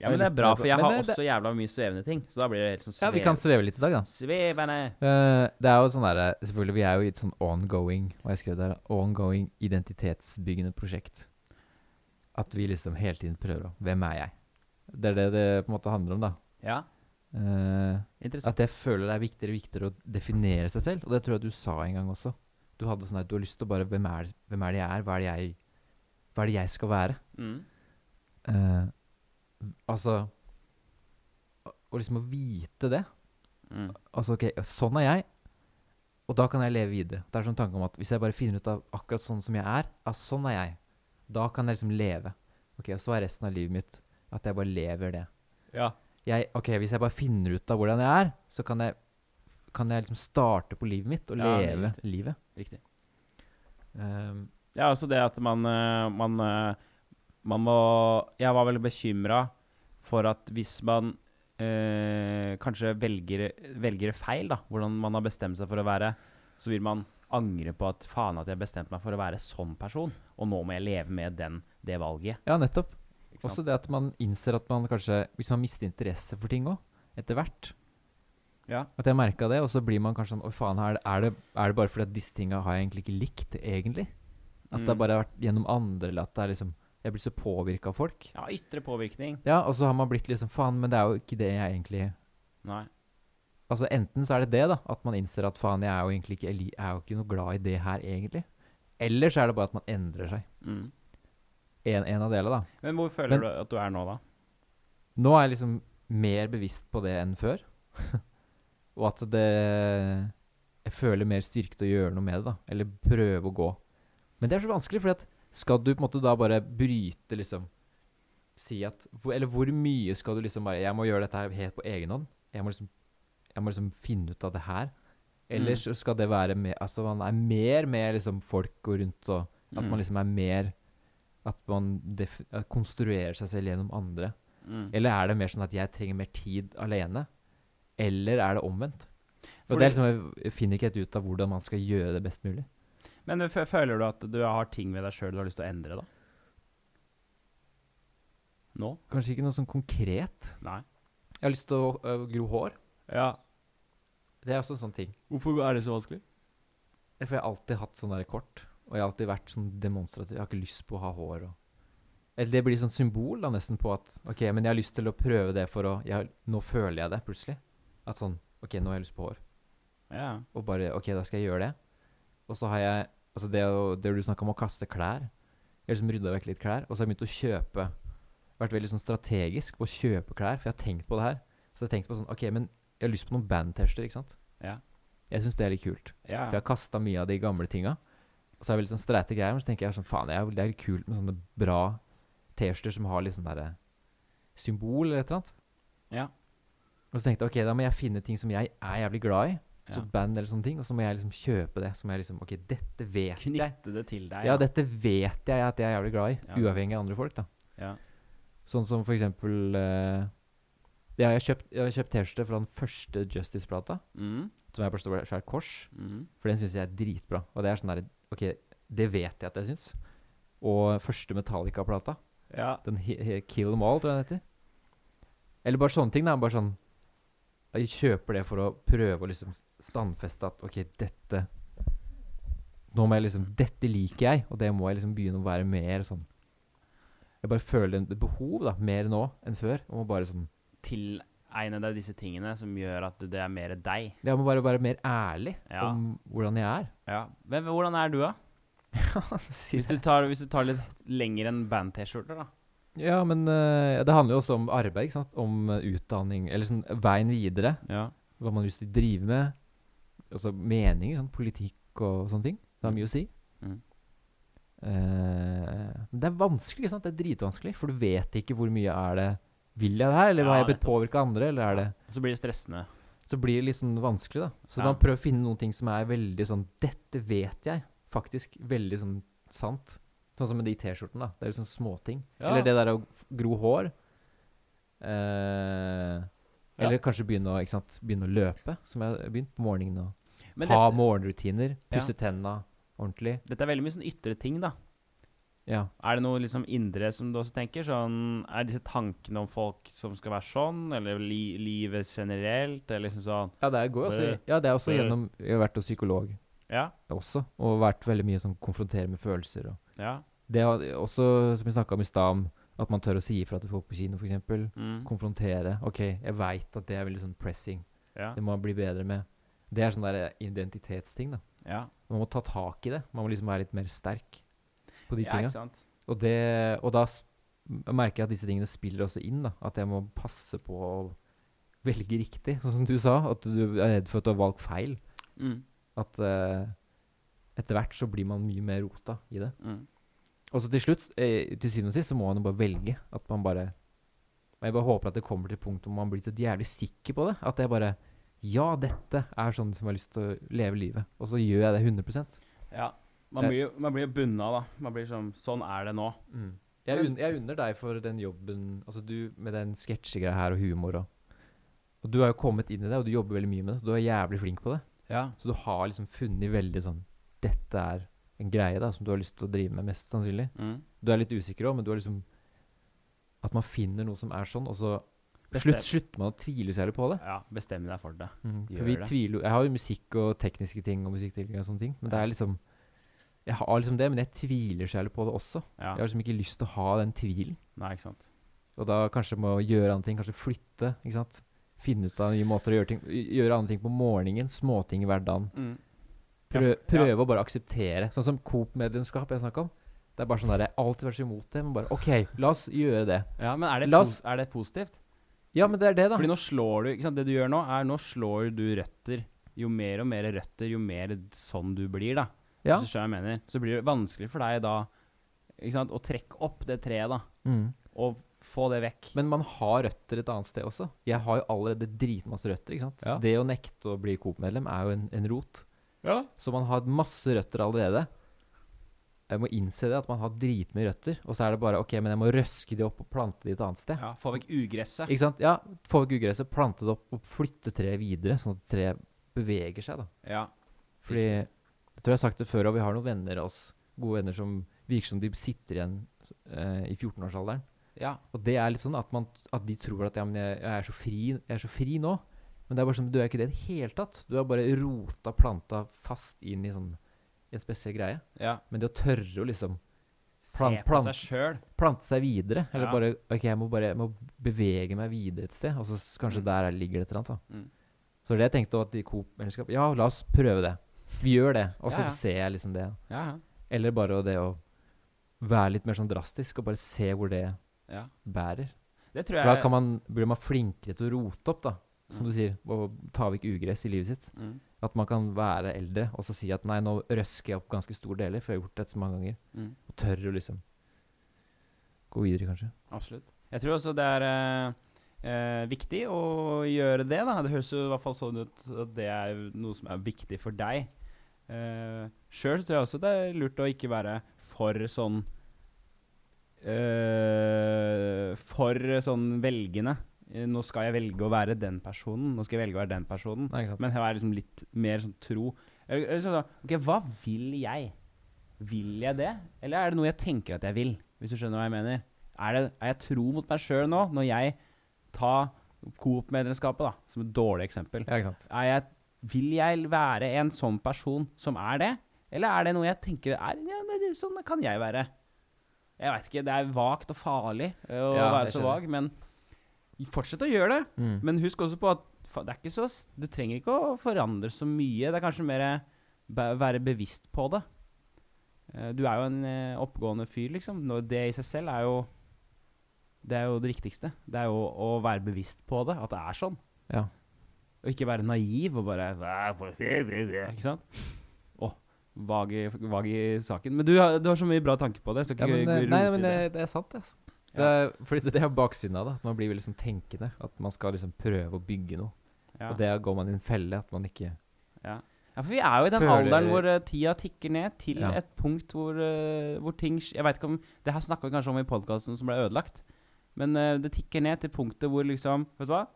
Speaker 2: Ja, men det er bra, for jeg
Speaker 1: Men
Speaker 2: har
Speaker 1: det- det-
Speaker 2: også jævla mye svevende ting. Så da blir det helt sånn
Speaker 1: ja, vi kan sveve litt i dag, da.
Speaker 2: Svevende.
Speaker 1: Eh, det er jo sånn derre Selvfølgelig, vi er jo i et sånn ongoing Hva har jeg skrevet der? Ongoing identitetsbyggende prosjekt. At vi liksom hele tiden prøver å Hvem er jeg? Det er det det på en måte handler om, da.
Speaker 2: Ja.
Speaker 1: eh,
Speaker 2: Interessant.
Speaker 1: at jeg føler det er viktigere og viktigere å definere seg selv. Og det tror jeg du sa en gang også. Du hadde sånn her, du har lyst til å bare Hvem er, det- hvem er det jeg er? Hva er det jeg, hva er det jeg skal være?
Speaker 2: Mm.
Speaker 1: Eh, altså å- Og liksom å vite det.
Speaker 2: Mm.
Speaker 1: Altså, ok, sånn er jeg, og da kan jeg leve videre. Det er sånn tanke om at Hvis jeg bare finner ut av akkurat sånn som jeg er, ja, sånn er jeg, da kan jeg liksom leve. Ok, Og så er resten av livet mitt at jeg bare lever det.
Speaker 2: Ja.
Speaker 1: Jeg, ok, Hvis jeg bare finner ut av hvordan jeg er, så kan jeg, kan jeg liksom starte på livet mitt og
Speaker 2: Ja, det er
Speaker 1: leve livet.
Speaker 2: Riktig.
Speaker 1: Ehm,
Speaker 2: Ja, også det at man, eh, man, eh, man må Jeg var veldig bekymra for at hvis man eh, kanskje velger, velger feil, da, hvordan man har bestemt seg for å være, så vil man angre på at faen at jeg bestemte meg for å være sånn person, og nå må jeg leve med den, det valget.
Speaker 1: ja, nettopp.
Speaker 2: Ikke sant?
Speaker 1: Også det at man innser at man kanskje Hvis man mister interesse for ting òg, etter hvert
Speaker 2: Ja.
Speaker 1: At jeg merka det, og så blir man kanskje sånn Å, faen, er det, er det, er det bare fordi at disse tinga har jeg egentlig ikke likt, egentlig? At det
Speaker 2: Mm.
Speaker 1: bare har vært gjennom andre, eller at det er liksom Jeg blir så påvirka av folk.
Speaker 2: ja, ytre påvirkning.
Speaker 1: Ja, og så har man blitt liksom Faen, men det er jo ikke det jeg egentlig
Speaker 2: Nei.
Speaker 1: Altså Enten så er det det, da, at man innser at faen, jeg er jo egentlig ikke, jeg li- jeg er jo ikke noe glad i det her, egentlig. Eller så er det bare at man endrer seg.
Speaker 2: Mm.
Speaker 1: En, en av delene, da.
Speaker 2: Men hvor føler
Speaker 1: Men-
Speaker 2: du at du er nå, da?
Speaker 1: Nå er jeg liksom mer bevisst på det enn før. [laughs] og at det Jeg føler mer styrke til å gjøre noe med det, da. Eller prøve å gå. Men det er så vanskelig, for skal du på en måte da bare bryte, liksom Si at hvor- Eller hvor mye skal du liksom bare Jeg må gjøre dette her helt på egen hånd. Jeg må liksom, jeg må liksom finne ut av det her. Eller så skal det være mer Altså man er mer med liksom folk og rundt og At
Speaker 2: Mm.
Speaker 1: man liksom er mer At man def konstruerer seg selv gjennom andre.
Speaker 2: Mm.
Speaker 1: Eller er det mer sånn at jeg trenger mer tid alene? Eller er det omvendt? Og
Speaker 2: Fordi-
Speaker 1: det er liksom, Jeg finner ikke helt ut av hvordan man skal gjøre det best mulig.
Speaker 2: Men fø- føler du at du har ting ved deg sjøl du har lyst til å endre, da? Nå?
Speaker 1: Kanskje ikke noe sånn konkret.
Speaker 2: Nei.
Speaker 1: Jeg har lyst til å ø, gro hår.
Speaker 2: Ja.
Speaker 1: Det er også en sånn ting.
Speaker 2: Hvorfor er det så vanskelig?
Speaker 1: Det er fordi jeg har alltid hatt sånn der kort. Og jeg har alltid vært sånn demonstrativ. Jeg har ikke lyst på å ha hår. Og eller det blir sånn symbol da nesten på at OK, men jeg har lyst til å prøve det for å jeg, har- Nå føler jeg det plutselig. At sånn OK, nå har jeg lyst på hår.
Speaker 2: Ja.
Speaker 1: og bare OK, da skal jeg gjøre det. Og så har jeg Altså det, å- det du snakka om å kaste klær. Jeg har liksom rydda vekk litt klær, og så har jeg begynt å kjøpe Vært veldig sånn strategisk på å kjøpe klær, for jeg har tenkt på det her. Så jeg har tenkt på sånn OK, men jeg har lyst på noen band-tester, ikke sant?
Speaker 2: Ja.
Speaker 1: Jeg syns det er litt kult.
Speaker 2: ja.
Speaker 1: For jeg har kasta mye av de gamle tinga. Og så er jeg veldig sånn streite greier, men så tenker jeg sånn faen, det er jo- det er litt kult med sånne bra T-skjorter som har litt sånn derre symbol eller et eller annet.
Speaker 2: Ja.
Speaker 1: Og så tenkte jeg OK, da må jeg finne ting som jeg er jævlig glad i. Så
Speaker 2: Ja.
Speaker 1: band eller sånne ting, og så må jeg liksom kjøpe det. Så må jeg liksom OK, dette vet jeg.
Speaker 2: Knytte det til deg.
Speaker 1: Ja, dette vet jeg at jeg er jævlig glad i.
Speaker 2: Ja.
Speaker 1: Uavhengig av andre folk, da.
Speaker 2: Ja.
Speaker 1: Sånn som for eksempel eh, ja, Jeg har kjøpt jeg har kjøpt T-skjorte fra den første Justice-plata,
Speaker 2: Mm.
Speaker 1: som jeg forstår er svært kors.
Speaker 2: Mm.
Speaker 1: For den syns jeg er dritbra. Og det er sånn derre OK, det vet jeg at jeg syns. Og første Metallica-plata,
Speaker 2: ja.
Speaker 1: den he he Kill Them All, tror jeg den heter. Eller bare sånne ting, da. Bare sånn Jeg kjøper det for å prøve å liksom standfeste at OK, dette Nå må jeg liksom Dette liker jeg, og det må jeg liksom begynne å være mer sånn Jeg bare føler en- et behov, da, mer nå enn før, om å bare sånn
Speaker 2: Tilegne deg disse tingene som gjør at det er mer deg.
Speaker 1: Jeg må bare være mer ærlig
Speaker 2: Ja.
Speaker 1: om hvordan jeg er.
Speaker 2: Ja. Men hvordan er du, da? Hvis du tar, hvis du tar litt lenger enn band-T-skjorter, da.
Speaker 1: Ja, men eh, det handler jo også om arbeid, ikke sant? Om eh, utdanning, eller sånn veien videre.
Speaker 2: Ja.
Speaker 1: Hva man har lyst til å drive med. Altså meninger, sånn politikk og sånne ting. Det har mye å si.
Speaker 2: Mm.
Speaker 1: Eh, men det er vanskelig, ikke sant? Det er dritvanskelig, for du vet ikke hvor mye er det Vil jeg det her, eller
Speaker 2: Ja,
Speaker 1: har jeg blitt
Speaker 2: nettopp.
Speaker 1: påvirka av andre, eller er det
Speaker 2: Og så blir det stressende.
Speaker 1: Så blir det litt sånn vanskelig, da. Så
Speaker 2: Ja.
Speaker 1: man prøver å finne noen ting som er veldig sånn Dette vet jeg. Faktisk veldig sånn sant. Sånn som med de T-skjortene, da. Det er jo sånne småting.
Speaker 2: Ja.
Speaker 1: Eller det der å f- gro hår. Eh, eller kanskje begynne å, ikke sant? begynne å løpe, som jeg har begynt på morgenen. Og
Speaker 2: Men
Speaker 1: ha
Speaker 2: dette,
Speaker 1: morgenrutiner.
Speaker 2: Ja.
Speaker 1: Pusse tenna ordentlig.
Speaker 2: dette er veldig mye sånn ytre ting, da.
Speaker 1: Ja.
Speaker 2: Er det noe liksom indre som du også tenker? Sånn, er disse tankene om folk som skal være sånn, eller li livet generelt, eller liksom sånn
Speaker 1: ja, det går jo også,
Speaker 2: Det-
Speaker 1: ja, det er også
Speaker 2: det-
Speaker 1: gjennom Jeg har vært hos psykolog
Speaker 2: Ja.
Speaker 1: også, og vært veldig mye sånn konfrontert med følelser og
Speaker 2: Ja.
Speaker 1: Det har også, som vi snakka om i stad, om At man tør å si ifra til folk på kino, f.eks.
Speaker 2: Mm.
Speaker 1: Konfrontere. OK, jeg veit at det er veldig sånn pressing.
Speaker 2: Ja.
Speaker 1: Det må jeg bli bedre med. Det er sånn der identitetsting, da.
Speaker 2: ja.
Speaker 1: Man må ta tak i det. Man må liksom være litt mer sterk på de
Speaker 2: ja,
Speaker 1: tinga.
Speaker 2: ikke sant?
Speaker 1: Og, det, og da s- merker jeg at disse tingene spiller også inn. da, At jeg må passe på å velge riktig, sånn som du sa. At du er redd for at du har valgt feil.
Speaker 2: Mm.
Speaker 1: At eh, etter hvert så blir man mye mer rota i det.
Speaker 2: Mm.
Speaker 1: Og så til slutt, eh, til syvende og sist, så må man jo bare velge. At man bare og Jeg bare håper at det kommer til et punkt hvor man blir så jævlig sikker på det. At jeg bare Ja, dette er sånn som jeg har lyst til å leve livet. Og så gjør jeg det 100
Speaker 2: Ja. Man
Speaker 1: Det-
Speaker 2: blir, jo- man blir jo bunna, da. Man blir sånn Sånn er det nå.
Speaker 1: Mm. Jeg,
Speaker 2: Men-
Speaker 1: unn, jeg unner deg for den jobben Altså du med den sketsjegreia her og humor og Og du har jo kommet inn i det, og du jobber veldig mye med det. og Du er jævlig flink på det.
Speaker 2: Ja.
Speaker 1: Så du har liksom funnet veldig sånn Dette er en greie da som du har lyst til å drive med, mest sannsynlig.
Speaker 2: Mm.
Speaker 1: Du er litt usikker òg, men du har liksom At man finner noe som er sånn, og så
Speaker 2: Bestem-
Speaker 1: slutt, slutter man å tvile særlig på det.
Speaker 2: ja. Bestem deg for det.
Speaker 1: For
Speaker 2: Mm, Gjør
Speaker 1: vi
Speaker 2: det.
Speaker 1: tviler jo Jeg har jo musikk og tekniske ting og musikktilgang og sånne ting, men det
Speaker 2: Ja.
Speaker 1: er liksom Jeg har liksom det, men jeg tviler særlig på det også.
Speaker 2: Ja.
Speaker 1: Jeg har liksom ikke lyst til å ha den tvilen.
Speaker 2: Nei, ikke sant.
Speaker 1: Og da kanskje må gjøre andre ting, kanskje flytte, ikke sant. Finne ut av nye måter å gjøre ting Gjøre andre ting på morgenen, småting i hverdagen.
Speaker 2: Mm. Ja,
Speaker 1: Prøv,
Speaker 2: f- ja.
Speaker 1: prøve å bare akseptere. Sånn som Coop-medlemskap jeg snakka om. Det er bare sånn der, Jeg har alltid vært så imot det, men bare OK, la oss gjøre det.
Speaker 2: Ja, men er det,
Speaker 1: La oss-
Speaker 2: pos- er det positivt?
Speaker 1: Ja, men det er det, da.
Speaker 2: Fordi nå slår du ikke sant? Det du gjør nå, er nå slår du røtter. Jo mer og mer røtter, jo mer sånn du blir, da.
Speaker 1: ja.
Speaker 2: Hvis du skjønner hva jeg mener. Så blir det vanskelig for deg da ikke sant? å trekke opp det treet, da.
Speaker 1: mm.
Speaker 2: Og få det vekk.
Speaker 1: Men man har røtter et annet sted også. Jeg har jo allerede dritmasse røtter. ikke sant?
Speaker 2: Ja.
Speaker 1: Det å nekte å bli Coop-medlem er jo en, en rot.
Speaker 2: Ja.
Speaker 1: Så man har masse røtter allerede. Jeg må innse det, at man har dritmye røtter. Og så er det bare OK, men jeg må røske de opp og plante de et annet sted.
Speaker 2: ja få vekk ugresset.
Speaker 1: Ikke sant? Ja, få vekk ugresset, plante det opp og flytte treet videre, sånn at treet beveger seg, da.
Speaker 2: Ja.
Speaker 1: Fordi Jeg tror jeg har sagt det før, og vi har noen venner av oss, gode venner som virker som de sitter igjen eh, i 14-årsalderen.
Speaker 2: ja.
Speaker 1: Og det er litt sånn at, man, at de tror at ja, men jeg, jeg, er så fri, jeg er så fri nå. Men det er bare sånn, du er ikke det i det hele tatt. Du er bare rota, planta fast inn i sånn, en spesiell greie.
Speaker 2: ja.
Speaker 1: Men det å tørre å liksom
Speaker 2: Se
Speaker 1: Plan-
Speaker 2: på
Speaker 1: plan-
Speaker 2: seg sjøl.
Speaker 1: plante seg videre, eller
Speaker 2: Ja.
Speaker 1: bare OK, jeg må bare jeg må bevege meg videre et sted. Og så s- kanskje
Speaker 2: Mm.
Speaker 1: der er- ligger det et eller annet. da.
Speaker 2: Mm.
Speaker 1: Så det jeg tenkte var at i Coop-medlemskap Ja, la oss prøve det. Vi gjør det. Og så
Speaker 2: Ja, ja.
Speaker 1: ser jeg liksom det.
Speaker 2: Ja, ja.
Speaker 1: Eller bare det å være litt mer sånn drastisk, og bare se hvor det
Speaker 2: ja.
Speaker 1: bærer.
Speaker 2: Det tror jeg
Speaker 1: For da kan man, blir man flinkere til å rote opp, da. Som du
Speaker 2: Mm.
Speaker 1: sier, å ta vekk ugress i livet sitt.
Speaker 2: mm.
Speaker 1: At man kan være eldre og så si at nei, nå røsker jeg opp ganske store deler, for jeg har gjort dette så mange ganger.
Speaker 2: Mm.
Speaker 1: Og tør å liksom gå videre, kanskje.
Speaker 2: Absolutt. Jeg tror også det er eh, eh, viktig å gjøre det. da. Det høres jo i hvert fall sånn ut at det er jo noe som er viktig for deg. Uh, Sjøl tror jeg også det er lurt å ikke være for sånn eh, For sånn velgende. Eh, Nå skal jeg velge å være den personen. Nå skal jeg velge å være den personen.
Speaker 1: Nei, ikke sant.
Speaker 2: Men her er liksom litt mer sånn tro. Eller, eller sånn, da, ok, Hva vil jeg? Vil jeg det, eller er det noe jeg tenker at jeg vil? Hvis du skjønner hva jeg mener. Er, det, er jeg tro mot meg sjøl nå, når jeg tar Coop-medlemskapet da, som et dårlig eksempel?
Speaker 1: ja, ikke sant.
Speaker 2: Er jeg, vil jeg være en sånn person som er det, eller er det noe jeg tenker er, ja, det, det, Sånn kan jeg være. Jeg veit ikke. Det er vagt og farlig ø, å
Speaker 1: Ja,
Speaker 2: være
Speaker 1: jeg
Speaker 2: så
Speaker 1: skjønner.
Speaker 2: vag, men fortsett å gjøre det.
Speaker 1: Mm.
Speaker 2: Men husk også på at fa- det er ikke så, s- du trenger ikke å forandre så mye. Det er kanskje mer eh, be- være bevisst på det. Eh, Du er jo en eh, oppegående fyr, liksom. Nå- Det i seg selv er jo det er jo det viktigste. Det er jo å være bevisst på det, at det er sånn.
Speaker 1: Ja.
Speaker 2: Og ikke være naiv og bare "Hva for- Ikke sant? Å, vag i, vag i saken. Men du har, du har så mye bra tanker på det. Så
Speaker 1: Ja,
Speaker 2: ikke
Speaker 1: men, eh,
Speaker 2: gå
Speaker 1: nei,
Speaker 2: rote i
Speaker 1: men det,
Speaker 2: det.
Speaker 1: det er sant, altså. Det
Speaker 2: Ja.
Speaker 1: er, fordi det- det er baksiden av det. At man blir veldig sånn tenkende. At man skal liksom prøve å bygge noe.
Speaker 2: Ja.
Speaker 1: Og det går man i en felle. At man ikke
Speaker 2: Ja, for vi er jo i den
Speaker 1: Føler-
Speaker 2: alderen hvor eh, tida tikker ned til
Speaker 1: Ja.
Speaker 2: et punkt hvor, eh, hvor ting sk- Jeg vet ikke om Det her snakka vi kanskje om i podkasten som ble ødelagt. Men eh, det tikker ned til punktet hvor liksom Vet du hva?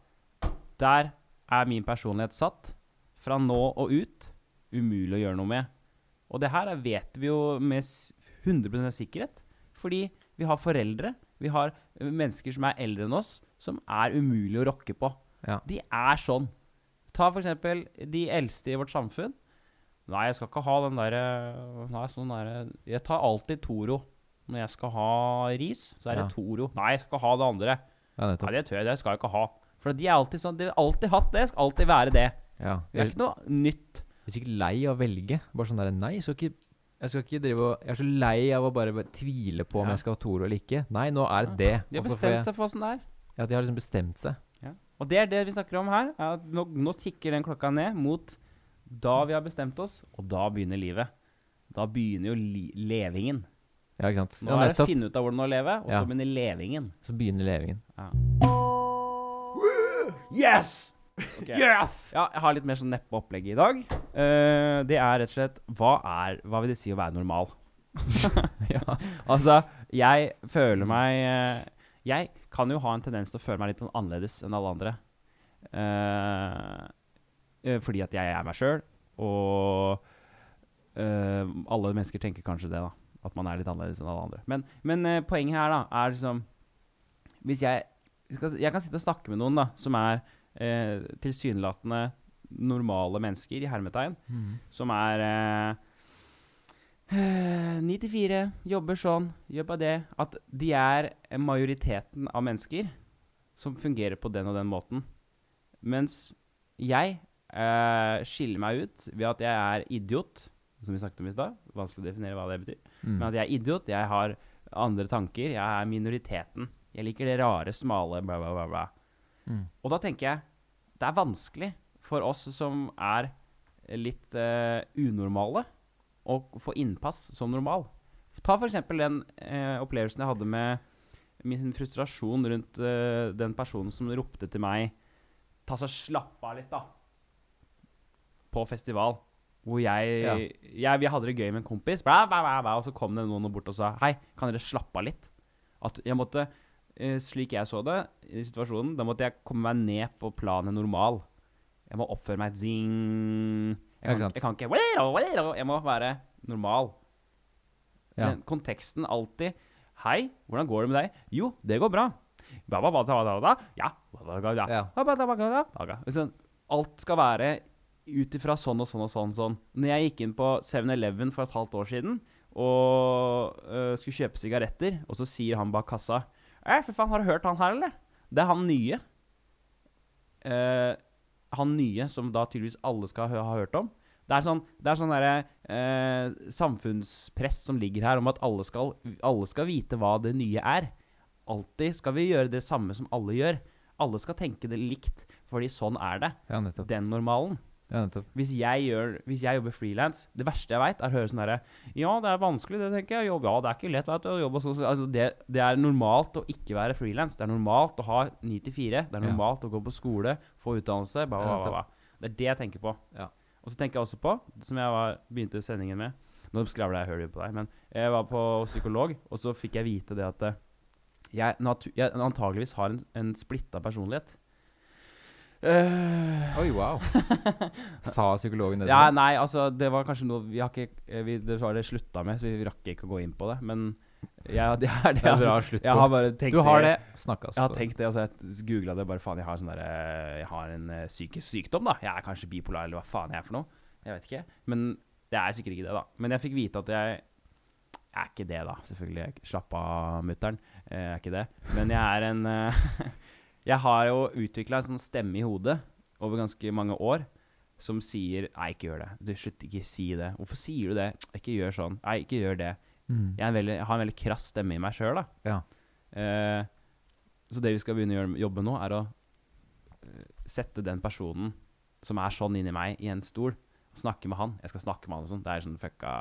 Speaker 2: Der er min personlighet satt. Fra nå og ut umulig å gjøre noe med. Og det her er- vet vi jo med s- 100 sikkerhet. Fordi vi har foreldre, vi har eh, mennesker som er eldre enn oss, som er umulig å rokke på.
Speaker 1: Ja.
Speaker 2: De er sånn. Ta for eksempel de eldste i vårt samfunn. eh, Nei, jeg skal ikke ha den derre Nei, sånn derre Jeg tar eh, alltid Toro. Når jeg skal ha ris, så er det
Speaker 1: Ja.
Speaker 2: Toro. Nei, jeg skal ha det andre.
Speaker 1: Ja,
Speaker 2: Nei,
Speaker 1: nettopp.
Speaker 2: det tør jeg, det skal jeg ikke ha. For de er alltid sånn, de har alltid hatt det, skal alltid være det.
Speaker 1: Ja.
Speaker 2: Det er
Speaker 1: Jeg
Speaker 2: ikke noe nytt.
Speaker 1: er sikkert lei av å velge. Bare sånn der Nei, jeg skal ikke jeg skal ikke drive og Jeg er så lei av å bare bare tvile på om
Speaker 2: Ja.
Speaker 1: jeg skal ha Toro eller ikke. Nei, nå er det det.
Speaker 2: De har
Speaker 1: Og så får
Speaker 2: bestemt
Speaker 1: jeg-
Speaker 2: seg for åssen det er.
Speaker 1: Ja, de har liksom bestemt seg.
Speaker 2: Og det er det vi snakker om her. Er at nå, nå tikker den klokka ned mot da vi har bestemt oss, og da begynner livet. Da begynner jo li levingen.
Speaker 1: Ja, ikke sant.
Speaker 2: Nå
Speaker 1: Ja,
Speaker 2: er det å
Speaker 1: nettopp.
Speaker 2: finne ut av hvordan å leve, og
Speaker 1: Ja.
Speaker 2: så begynner levingen.
Speaker 1: Så begynner levingen.
Speaker 2: Yes! Yes! Ja, jeg har litt mer sånn neppe opplegg i dag. Eh, det er rett og slett Hva er Hva vil det si å være normal? [laughs] ja. Altså, jeg føler meg eh, Jeg kan jo ha en tendens til å føle meg litt sånn annerledes enn alle andre. Eh, eh, fordi at jeg er meg sjøl, og eh, alle mennesker tenker kanskje det, da. At man er litt annerledes enn alle andre. Men, men eh, poenget her, da, er liksom Hvis jeg skal, Jeg kan sitte og snakke med noen da som er eh, tilsynelatende normale mennesker, i hermetegn, som er eh, eh, 9 til 4, jobber sånn, gjør bare det At de er majoriteten av mennesker som fungerer på den og den måten. Mens jeg eh, skiller meg ut ved at jeg er idiot, som vi snakket om i stad. Vanskelig å definere hva det betyr.
Speaker 1: Mm.
Speaker 2: Men at jeg er idiot, jeg har andre tanker, jeg er minoriteten. Jeg liker det rare, smale, bla, bla, bla. bla.
Speaker 1: Mm.
Speaker 2: Og da tenker jeg det er vanskelig for oss som er litt eh, unormale, å få innpass som normal. Ta f.eks. den eh, opplevelsen jeg hadde med min frustrasjon rundt eh, den personen som ropte til meg Ta så slapp av litt, da. På festival. Hvor jeg,
Speaker 1: Ja.
Speaker 2: jeg Vi hadde det gøy med en kompis, bla, bla, bla, bla, og så kom det noen bort og sa Hei, kan dere slappe av litt? At jeg måtte eh, Slik jeg så det, i situasjonen, da måtte jeg komme meg ned på planet normal. Jeg må oppføre meg zing.
Speaker 1: Ja, ikke
Speaker 2: Jeg kan,
Speaker 1: sant.
Speaker 2: jeg kan ikke «Walo, walo», Jeg må være normal.
Speaker 1: Ja.
Speaker 2: Men konteksten alltid Hei, hvordan går det med deg? Jo, det går bra. Ba, ba, ba, da, da, da. Ja. Ba, ba, ba, da.
Speaker 1: Ja.
Speaker 2: Ba, ba, da, ba, da, da, da. Liksom, Alt skal være ut ifra sånn og sånn og sånn. sånn. Når jeg gikk inn på 7-Eleven for et halvt år siden og øh, skulle kjøpe sigaretter, og så sier han bak kassa Æ, for faen, har du hørt han her, eller? Det er han nye. Eh, han nye, som da tydeligvis alle skal hø ha hørt om. Det er sånn, det er sånn derre eh, samfunnspress som ligger her, om at alle skal, alle skal vite hva det nye er. Alltid skal vi gjøre det samme som alle gjør. Alle skal tenke det likt, fordi sånn er det.
Speaker 1: Ja, nettopp.
Speaker 2: Den normalen.
Speaker 1: Ja, nettopp.
Speaker 2: Hvis jeg, gjør, hvis jeg jobber frilans Det verste jeg veit, er å høre sånn herre Ja, det er vanskelig, det tenker jeg. Jobb, ja, det er ikke lett vet du, å jobbe sånn. Altså, det, det er normalt å ikke være frilans. Det er normalt å ha ni til fire. Det er
Speaker 1: Ja.
Speaker 2: normalt å gå på skole, få utdannelse. Bla, bla,
Speaker 1: Ja,
Speaker 2: bla, bla. Det er det jeg tenker på.
Speaker 1: Ja.
Speaker 2: Og så tenker jeg også på, som jeg var, begynte sendingen med Nå skravler jeg, jeg hører jo på deg, men jeg var på psykolog, og så fikk jeg vite det at eh, jeg, natu jeg antageligvis har en, en splitta personlighet. Uh,
Speaker 1: Oi,
Speaker 2: [laughs]
Speaker 1: wow. Sa psykologen det? til
Speaker 2: ja,
Speaker 1: deg?
Speaker 2: nei, altså Det var kanskje noe vi har ikke eh, vi, Det var det slutta med, så vi rakk ikke å gå inn på det. Men jeg, det er det
Speaker 1: Det er et bra
Speaker 2: Jeg har
Speaker 1: sluttpunkt.
Speaker 2: bare tenkt
Speaker 1: Du har
Speaker 2: det.
Speaker 1: det. altså. Snakkes.
Speaker 2: Jeg har tenkt det, og så jeg googla det. Bare faen, jeg har sånn der, eh, Jeg har en eh, psykisk sykdom, da. Jeg er kanskje bipolar, eller hva faen jeg er for noe. Jeg vet ikke. Men det er sikkert ikke det, da. Men jeg fikk vite at jeg jeg er ikke det, da. Selvfølgelig. Jeg er ikke- Slapp av, mutter'n. Eh, Jeg er ikke det. Men jeg er en eh, [laughs] Jeg har jo utvikla en sånn stemme i hodet over ganske mange år som sier Nei, ikke gjør det. Du, slutt, ikke si det. Hvorfor sier du det? Ikke gjør sånn. Nei, ikke gjør det.
Speaker 1: Mm.
Speaker 2: Jeg, er en veldig, jeg har en veldig krass stemme i meg sjøl, da.
Speaker 1: Ja.
Speaker 2: Eh, så det vi skal begynne å gjøre, jobbe med nå, er å eh, sette den personen som er sånn inni meg, i en stol. Og snakke med han. Jeg skal snakke med han og sånn. Det er sånn fucka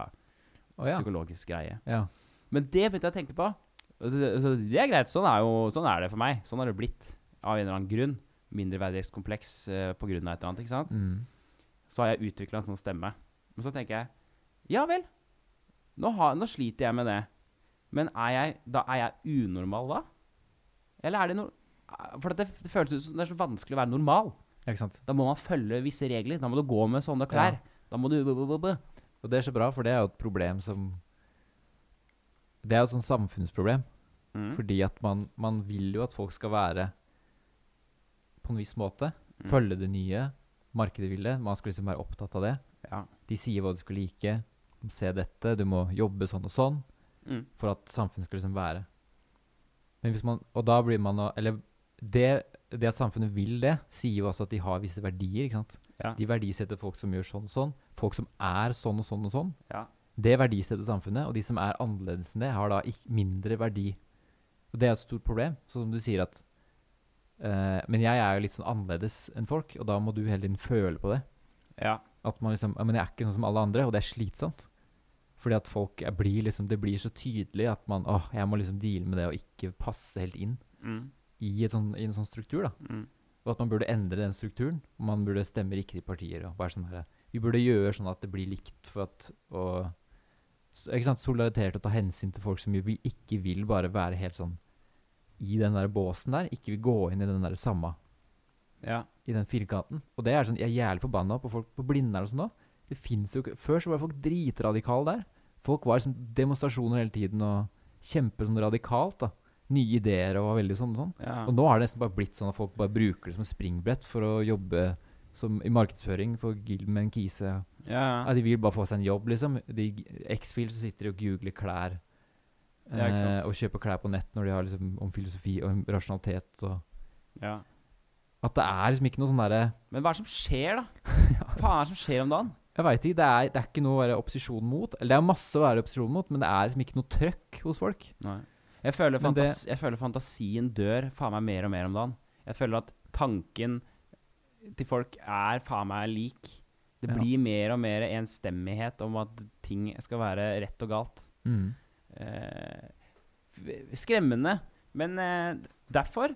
Speaker 1: Å, ja.
Speaker 2: psykologisk greie.
Speaker 1: Ja.
Speaker 2: Men det begynte jeg å tenke på. Og det- Så det er greit. Sånn er, jo, sånn er det for meg. Sånn har det blitt. Av en eller annen grunn. Mindreverdighetskompleks eh, på grunn av et eller annet. ikke sant?
Speaker 1: Mm.
Speaker 2: så har jeg utvikla en sånn stemme. Men så tenker jeg Ja vel. Nå, har, nå sliter jeg med det. Men er jeg, da er jeg unormal da? Eller er det noe For det, det føles ut som det er så vanskelig å være normal.
Speaker 1: Ikke sant.
Speaker 2: Da må man følge visse regler. Da må du gå med sånne klær. Da må du
Speaker 1: Og det er så bra, for det er jo et problem som Det er jo et sånt samfunnsproblem.
Speaker 2: Mm.
Speaker 1: Fordi at man, man vil jo at folk skal være på en viss måte.
Speaker 2: mm.
Speaker 1: Følge det nye. Markedet vil det. Man skal liksom være opptatt av det.
Speaker 2: Ja.
Speaker 1: De sier hva du skal like. Se dette. Du må jobbe sånn og sånn.
Speaker 2: Mm.
Speaker 1: for at samfunnet skal liksom være. Men hvis man, og da blir man å- Eller det, det at samfunnet vil det, sier jo også at de har visse verdier. ikke sant?
Speaker 2: Ja.
Speaker 1: De verdisetter folk som gjør sånn og sånn. Folk som er sånn og sånn og sånn.
Speaker 2: Ja.
Speaker 1: Det verdisetter samfunnet, og de som er annerledes enn det, har da ikk- mindre verdi. Og det er et stort problem, sånn som du sier at eh, Men jeg er jo litt sånn annerledes enn folk, og da må du hele tiden føle på det.
Speaker 2: Ja.
Speaker 1: At man liksom ja, Men jeg er ikke sånn som alle andre, og det er slitsomt. Fordi at folk jeg blir liksom Det blir så tydelig at man Åh, jeg må liksom deale med det og ikke passe helt inn
Speaker 2: Mm.
Speaker 1: i, et sånn, i en sånn struktur, da.
Speaker 2: Mm.
Speaker 1: Og at man burde endre den strukturen. og Man burde stemme riktige partier og være sånn her Vi burde gjøre sånn at det blir likt for at å s- Ikke sant? Solidaritet og ta hensyn til folk som jo vi ikke vil bare være helt sånn i den der båsen der. Ikke vil gå inn i den der samme
Speaker 2: Ja.
Speaker 1: i den firkanten. Og det er sånn, jeg er jævlig forbanna på folk på Blindern og sånn da. Det finnes jo ikke Før så var folk dritradikale der. Folk var liksom demonstrasjoner hele tiden og kjempe sånn radikalt, da. Nye ideer og var veldig sånn og sånn.
Speaker 2: Ja.
Speaker 1: Og nå har det nesten bare blitt sånn at folk bare bruker det som et springbrett for å jobbe som, i markedsføring for Gilman Kise.
Speaker 2: Ja.
Speaker 1: Ja, de vil bare få seg en jobb, liksom. De X-Files sitter og googler klær.
Speaker 2: Ja, ikke sant.
Speaker 1: eh, og kjøper klær på nett når de har liksom om filosofi og om rasjonalitet og
Speaker 2: ja.
Speaker 1: At det er liksom ikke noe sånn derre
Speaker 2: Men hva er det som skjer, [laughs] da? Hva faen er det som skjer om dagen?
Speaker 1: Jeg veit ikke. Det er, det er ikke noe å være opposisjon mot. Eller det er masse å være opposisjon mot, men det er liksom ikke noe trøkk hos folk.
Speaker 2: Nei. Jeg føler,
Speaker 1: Men det-
Speaker 2: fantas jeg føler fantasien dør faen meg mer og mer om dagen. Jeg føler at tanken til folk er faen meg lik. Det
Speaker 1: Ja.
Speaker 2: blir mer og mer enstemmighet om at ting skal være rett og galt. Eh, f- skremmende. Men eh, derfor,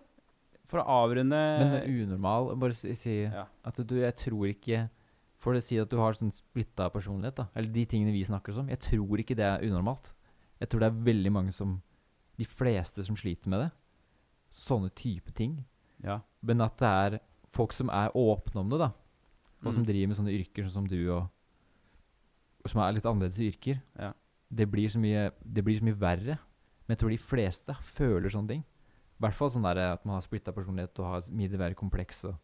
Speaker 2: for å avrunde
Speaker 1: Men det er unormal Bare si, si
Speaker 2: Ja.
Speaker 1: at du Jeg tror ikke For det sier at du har sånn splitta personlighet, da. Eller de tingene vi snakker om. Jeg tror ikke det er unormalt. Jeg tror det er veldig mange som De fleste som sliter med det. Sånne type ting.
Speaker 2: Ja.
Speaker 1: Men at det er folk som er åpne om det, da. Og som
Speaker 2: Mm.
Speaker 1: driver med sånne yrker sånn som du og, og som er litt annerledes i yrker.
Speaker 2: Ja.
Speaker 1: Det, blir så mye, det blir så mye verre. Men jeg tror de fleste føler sånne ting. I hvert fall sånn der at man har splitta personlighet og har middelvære kompleks og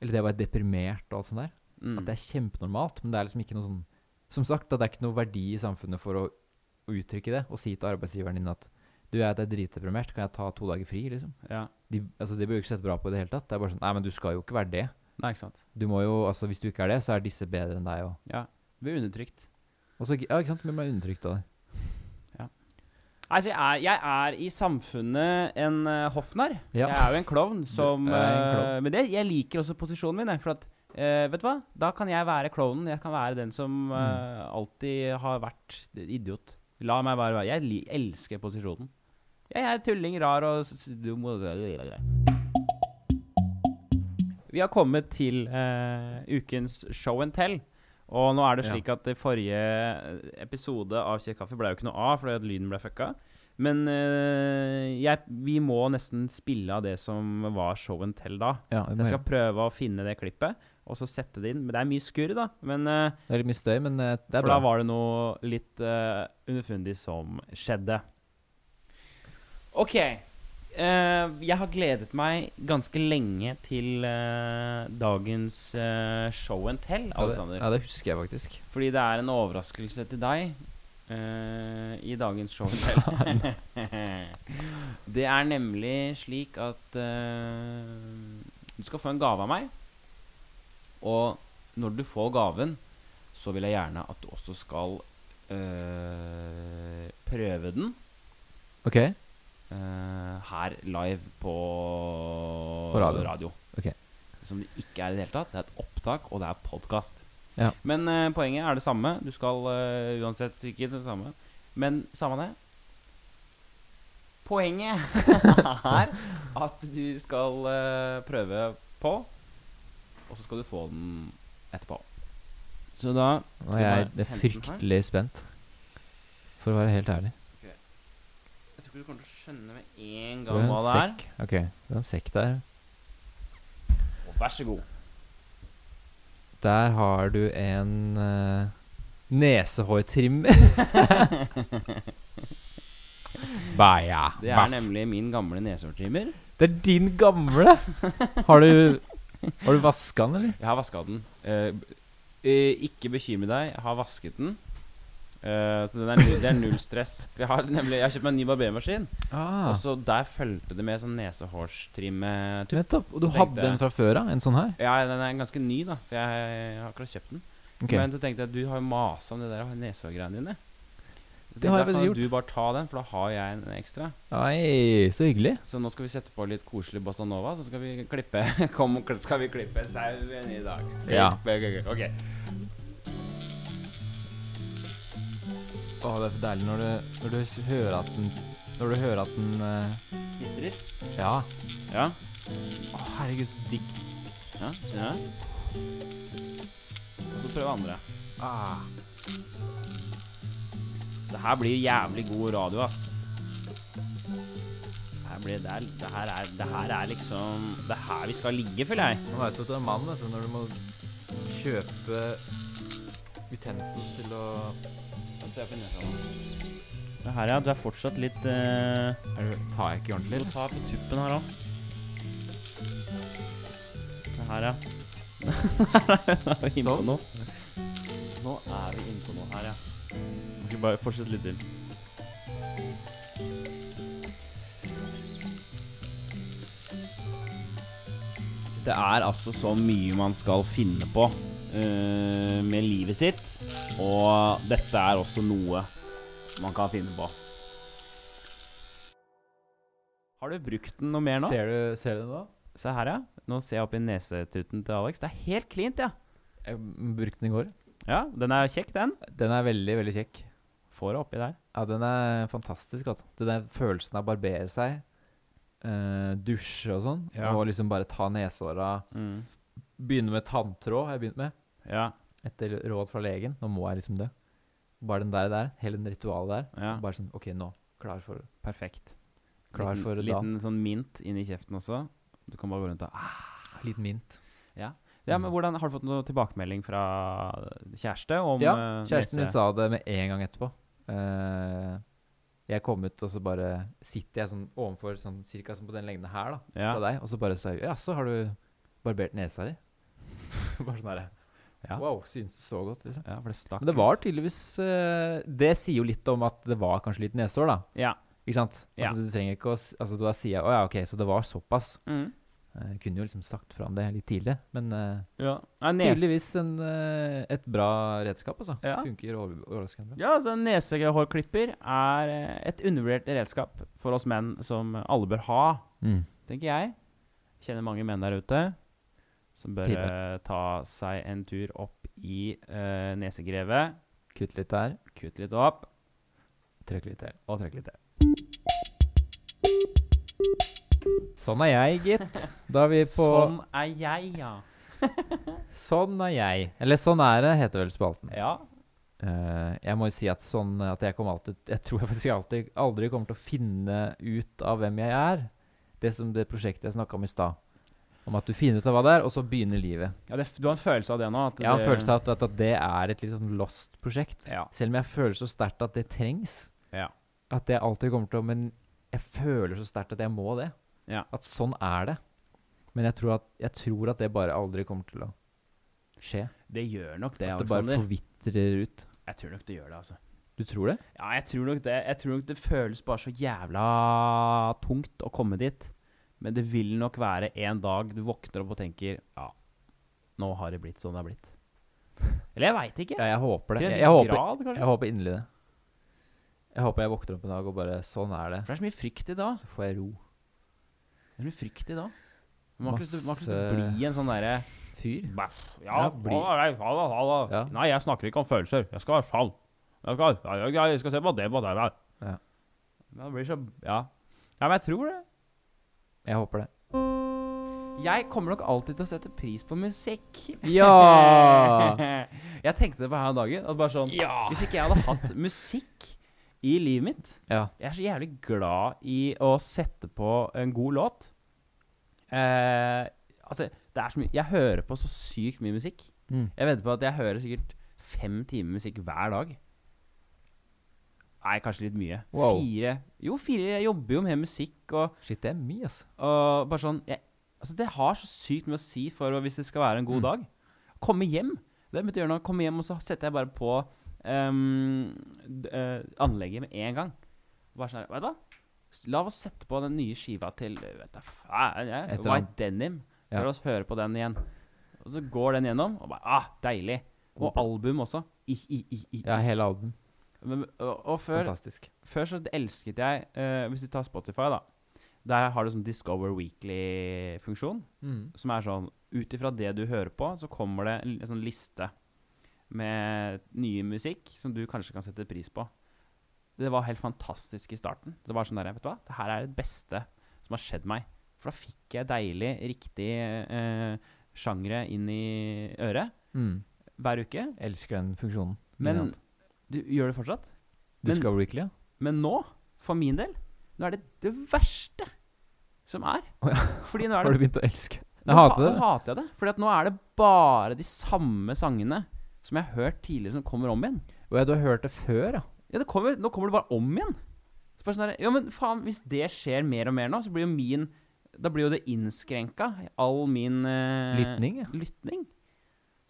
Speaker 1: Eller det å være deprimert og alt sånt der. At
Speaker 2: Mm.
Speaker 1: det er kjempenormalt, men det er liksom ikke noe sånn Som sagt, at det er ikke noe verdi i samfunnet for å, å uttrykke det og si til arbeidsgiveren din at du, jeg er dritdeprimert, kan jeg ta to dager fri, liksom?
Speaker 2: ja.
Speaker 1: De, altså, det blir jo ikke sett bra på i det hele tatt. Det er bare sånn Nei, men du skal jo ikke være det.
Speaker 2: Nei, ikke sant.
Speaker 1: Du må jo, altså Hvis du ikke er det, så er disse bedre enn deg. Og,
Speaker 2: Ja. Det blir undertrykt.
Speaker 1: og så, ja, ikke sant? Men man er undertrykt av det.
Speaker 2: Altså, jeg er, jeg er i samfunnet en uh, hoffnarr.
Speaker 1: Ja.
Speaker 2: Jeg er jo en klovn som
Speaker 1: er en
Speaker 2: eh,
Speaker 1: klovn.
Speaker 2: Men det, jeg liker også posisjonen min, jeg, for at eh, Vet du hva? Da kan jeg være klovnen. Jeg kan være den som
Speaker 1: Mm.
Speaker 2: eh, alltid har vært idiot. La meg bare være Jeg li elsker posisjonen. Jeg er tulling, rar og s- s- dum og Vi har kommet til eh, ukens show and tell. Og nå er det
Speaker 1: Ja.
Speaker 2: slik at det forrige eh, episode av Kjekk kaffe ble jo ikke noe av fordi at lyden ble fucka. Men eh, jeg, vi må nesten spille av det som var show and tell da.
Speaker 1: Ja,
Speaker 2: Så
Speaker 1: det,
Speaker 2: jeg skal prøve å finne det klippet og så sette det inn. Men det er mye skurr, da. Men, eh,
Speaker 1: det er litt mye støy, men eh, det er
Speaker 2: for da
Speaker 1: bra.
Speaker 2: var det noe litt eh, underfundig som skjedde. OK. Eh, jeg har gledet meg ganske lenge til eh, dagens eh, show and tell,
Speaker 1: Ja,
Speaker 2: Alexander.
Speaker 1: det, ja, det husker jeg faktisk.
Speaker 2: Fordi det er en overraskelse til deg eh, i dagens show. [laughs] det er nemlig slik at eh, du skal få en gave av meg. Og når du får gaven, så vil jeg gjerne at du også skal eh, prøve den
Speaker 1: OK.
Speaker 2: eh, her live på,
Speaker 1: På radio. Ok.
Speaker 2: Som det ikke er i det hele tatt. Det er et opptak, og det er podkast.
Speaker 1: Ja.
Speaker 2: Men eh, poenget er det samme. Du skal eh, uansett ikke det samme. Men samme det. Poenget [laughs] er at du skal eh, prøve på, og så skal du få den etterpå. Så da
Speaker 1: Og jeg
Speaker 2: bare
Speaker 1: det er
Speaker 2: hente den her?
Speaker 1: fryktelig spent, for å være helt ærlig.
Speaker 2: Jeg tror ikke du kommer til å skjønne med en
Speaker 1: Det var
Speaker 2: gang hva
Speaker 1: en
Speaker 2: det er.
Speaker 1: sekk. OK, det var en sekk der.
Speaker 2: Og vær så god.
Speaker 1: Der har du en eh,
Speaker 2: [laughs]
Speaker 1: nesehårtrimmer. Bæja.
Speaker 2: Det er nemlig min gamle nesehårtrimmer.
Speaker 1: Det er din gamle! Har du Har du vaska den, eller?
Speaker 2: Jeg har vaska den. Eh, b- eh, ikke bekymre deg, jeg har vasket den. Eh, så den er, null, det er null stress. For Jeg har nemlig Jeg har kjøpt meg en ny barbermaskin,
Speaker 1: Ah.
Speaker 2: og så der fulgte det med sånn nesehårstrimme-tupp.
Speaker 1: Nettopp. Og du
Speaker 2: Tenkte
Speaker 1: hadde
Speaker 2: jeg.
Speaker 1: en fra før av? En sånn her?
Speaker 2: Ja, den er ganske ny, da, for jeg har akkurat kjøpt den.
Speaker 1: Ok.
Speaker 2: Men så tenkte jeg at du har jo masa om det der nesehårgreiene dine.
Speaker 1: Det har jeg
Speaker 2: Da
Speaker 1: faktisk
Speaker 2: kan
Speaker 1: gjort.
Speaker 2: Du bare ta den, for da har jeg en ekstra.
Speaker 1: Oi, så hyggelig.
Speaker 2: Så nå skal vi sette på litt koselig bossa nova, så skal vi klippe [laughs] Kom, og klipp- skal vi klippe sauen i dag.
Speaker 1: Ja.
Speaker 2: Klippe- Ok.
Speaker 1: Å, det er så deilig når du, når du s- hører at den Når du hører at den eh,
Speaker 2: Knitrer.
Speaker 1: Ja.
Speaker 2: Ja.
Speaker 1: Å, herregud, så digg.
Speaker 2: Ja, kjenner jeg. Og så prøve andre.
Speaker 1: Ah.
Speaker 2: Det her blir jævlig god radio, ass. Det her, blir, det, er, det, her er, det her er liksom Det er her vi skal ligge, føler jeg.
Speaker 1: Man veit at du er mann vet du, når du må kjøpe utensils til å
Speaker 2: Se på nesa nå. Se her, ja. Du er fortsatt litt eh,
Speaker 1: er du, Tar jeg ikke
Speaker 2: Du
Speaker 1: ordentlig?
Speaker 2: må ta på tuppen her òg. Se her, ja. [laughs] Nå er vi inne på
Speaker 1: Sånn.
Speaker 2: noe. Nå er vi inne på noe her, ja. Vi Sånn. skal bare fortsette litt til. Det er altså så mye man skal finne på eh, med livet sitt, og dette er også noe man kan finne på. Har du brukt den noe mer nå?
Speaker 1: Ser du, ser du det nå?
Speaker 2: Se her, ja. Nå ser jeg opp i nesetuten til Alex. Det er helt klint, ja.
Speaker 1: Jeg brukte den i går.
Speaker 2: Ja, Den er kjekk, den.
Speaker 1: Den er veldig, veldig kjekk.
Speaker 2: Får det oppi der.
Speaker 1: Ja, den er fantastisk, altså. Den der følelsen av å barbere seg, eh, dusje og sånn,
Speaker 2: Ja.
Speaker 1: og liksom bare ta nesehåra Begynne med tanntråd, har jeg begynt med,
Speaker 2: Mm. Ja,
Speaker 1: etter råd fra legen. Nå må jeg liksom det. Bare den der, der hele den ritualet der.
Speaker 2: ja.
Speaker 1: Bare sånn OK, nå. Klar for
Speaker 2: Perfekt.
Speaker 1: Klar
Speaker 2: liten,
Speaker 1: for da.
Speaker 2: Liten sånn mint inn i kjeften også. Du kan bare gå rundt og ah.
Speaker 1: litt mint.
Speaker 2: Ja, men hvordan Har du fått noe tilbakemelding fra kjæreste om
Speaker 1: Ja,
Speaker 2: eh,
Speaker 1: Kjæresten min
Speaker 2: nese?
Speaker 1: sa det med en gang etterpå. Eh, jeg kom ut, og så bare sitter jeg sånn ovenfor, sånn cirka som på den lengden her, da.
Speaker 2: Ja.
Speaker 1: fra deg, og så bare sa jeg Jaså, har du barbert nesa di? [laughs] bare sånn herre
Speaker 2: Ja.
Speaker 1: Wow, synes det så godt, liksom.
Speaker 2: Ja, for det stakk.
Speaker 1: Men det var tydeligvis eh, Det sier jo litt om at det var kanskje litt nesehår, da.
Speaker 2: Ja.
Speaker 1: Ikke sant?
Speaker 2: Ja.
Speaker 1: Altså, du trenger ikke å s- Altså, du har sida Å ja, OK, så det var såpass.
Speaker 2: Mm.
Speaker 1: Eh, Jeg kunne jo liksom sagt fra om det litt tidlig, men eh,
Speaker 2: ja. Nei, nese-
Speaker 1: tydeligvis en, eh, et bra redskap, altså.
Speaker 2: Ja.
Speaker 1: Funker over- overraskende bra.
Speaker 2: Ja, altså Nesehårklipper er eh, et undervurdert redskap for oss menn som alle bør ha,
Speaker 1: Mm.
Speaker 2: tenker jeg. Kjenner mange menn der ute som bør
Speaker 1: Tidligere.
Speaker 2: eh, ta seg en tur opp i eh, nesegrevet.
Speaker 1: Kutt litt der,
Speaker 2: Kutte litt opp
Speaker 1: trykk litt til.
Speaker 2: og trekke litt til.
Speaker 1: Sånn er jeg, gitt. Da er vi på
Speaker 2: [laughs] Sånn er jeg, ja.
Speaker 1: sånn er jeg. Eller Sånn er det, heter vel spalten.
Speaker 2: Ja,
Speaker 1: Eh, jeg må jo si at sånn at jeg kommer alltid Jeg tror jeg faktisk alltid, aldri kommer til å finne ut av hvem jeg er. Det som det prosjektet jeg snakka om i stad. Om at du finner ut av hva det er, og så begynner livet.
Speaker 2: ja det, Du har en følelse av det nå? At
Speaker 1: Jeg har
Speaker 2: det,
Speaker 1: en følelse av at, at, at det er et litt sånn lost prosjekt.
Speaker 2: Ja.
Speaker 1: Selv om jeg føler så sterkt at det trengs.
Speaker 2: Ja.
Speaker 1: At det alltid kommer til å Men jeg føler så sterkt at jeg må det.
Speaker 2: Ja.
Speaker 1: At sånn er det. Men jeg tror, at, jeg tror at det bare aldri kommer til å skje.
Speaker 2: Det gjør nok det,
Speaker 1: at det bare
Speaker 2: Alexander.
Speaker 1: forvitrer ut.
Speaker 2: Jeg tror nok det gjør det, altså.
Speaker 1: Du tror det?
Speaker 2: Ja, jeg tror nok det. Jeg tror nok det føles bare så jævla tungt å komme dit. Men det vil nok være en dag du våkner opp og tenker Ja, nå har det blitt sånn det har blitt. Eller jeg veit ikke.
Speaker 1: Ja, jeg håper det.
Speaker 2: Til en
Speaker 1: Jeg,
Speaker 2: viss
Speaker 1: jeg, håper,
Speaker 2: grad, kanskje.
Speaker 1: jeg håper inderlig det. Jeg håper jeg våkner opp en dag og bare Sånn er det.
Speaker 2: For det er så mye frykt i dag.
Speaker 1: Så får jeg ro.
Speaker 2: Det er mye frykt i dag. Man har ikke lyst til- man har ikke lyst til å
Speaker 1: Masse-
Speaker 2: bli en sånn derre
Speaker 1: Fyr.
Speaker 2: Ja,
Speaker 1: Ja, bli-
Speaker 2: hva er det? Hva da, hva da?
Speaker 1: Ja.
Speaker 2: Nei, jeg snakker ikke om følelser. Jeg skal være sann. Jeg skal, jeg, jeg skal se på det på det der.
Speaker 1: Ja.
Speaker 2: Men det blir så Ja. Ja, men jeg tror det.
Speaker 1: Jeg
Speaker 2: [laughs]
Speaker 1: håper det.
Speaker 2: Jeg kommer nok alltid til å sette pris på musikk. [laughs]
Speaker 1: Ja!
Speaker 2: jeg tenkte det på her om dagen. At bare sånn Hvis ikke jeg hadde hatt musikk i livet mitt
Speaker 1: Ja.
Speaker 2: Jeg er så jævlig glad i å sette på en god låt. Eh, altså, det er så mye Jeg hører på så sykt mye musikk.
Speaker 1: Mm.
Speaker 2: Jeg venter på at jeg hører sikkert fem timer musikk hver dag. Nei, kanskje litt mye.
Speaker 1: Wow.
Speaker 2: Fire. Jo, fire. Jeg jobber jo med musikk og
Speaker 1: Shit, det er mye, altså.
Speaker 2: og bare sånn jeg, Altså, det har så sykt mye å si for hvis det skal være en god
Speaker 1: Mm.
Speaker 2: dag. Komme hjem. Det betyr noe. Komme hjem, og så setter jeg bare på ehm, d- eh, anlegget med en gang. Bare sånn her, Vet du hva? S- La oss sette på den nye skiva til eh, vet du, faen, jeg,
Speaker 1: Et eller
Speaker 2: White
Speaker 1: annet.
Speaker 2: Denim.
Speaker 1: Ja.
Speaker 2: La oss høre på den igjen. Og så går den gjennom, og bare Ah, deilig. Og album også. I, i, i, i.
Speaker 1: Ja, hele album.
Speaker 2: Men, og, og før,
Speaker 1: Fantastisk.
Speaker 2: før så elsket jeg eh, Hvis du tar Spotify, da. Der har du sånn Discover Weekly-funksjon.
Speaker 1: Mm.
Speaker 2: Som er sånn Ut ifra det du hører på, så kommer det en, en sånn liste med nye musikk som du kanskje kan sette pris på. Det var helt fantastisk i starten. Det var sånn der, vet du hva? Det her er det beste som har skjedd meg. For da fikk jeg deilig, riktig eh, sjangre inn i øret
Speaker 1: Mm.
Speaker 2: hver uke.
Speaker 1: Elsker den funksjonen.
Speaker 2: Men
Speaker 1: Genialt.
Speaker 2: du gjør det fortsatt. men-
Speaker 1: Discover Weekly, ja.
Speaker 2: Men nå, for min del, nå er det det verste som er.
Speaker 1: Å ja.
Speaker 2: Fordi nå er
Speaker 1: Har
Speaker 2: det
Speaker 1: du begynt å elske?
Speaker 2: Nå
Speaker 1: Jeg hater det.
Speaker 2: ha- Nå hater jeg det. Fordi at nå er det bare de samme sangene som jeg har hørt tidligere, som kommer om igjen.
Speaker 1: Og ja, du har hørt det før, ja.
Speaker 2: Ja, det kommer, Nå kommer det bare om igjen. Så bare sånn der, ja, men faen, Hvis det skjer mer og mer nå, så blir jo min Da blir jo det innskrenka. All min eh,
Speaker 1: Lytning, ja.
Speaker 2: lytning.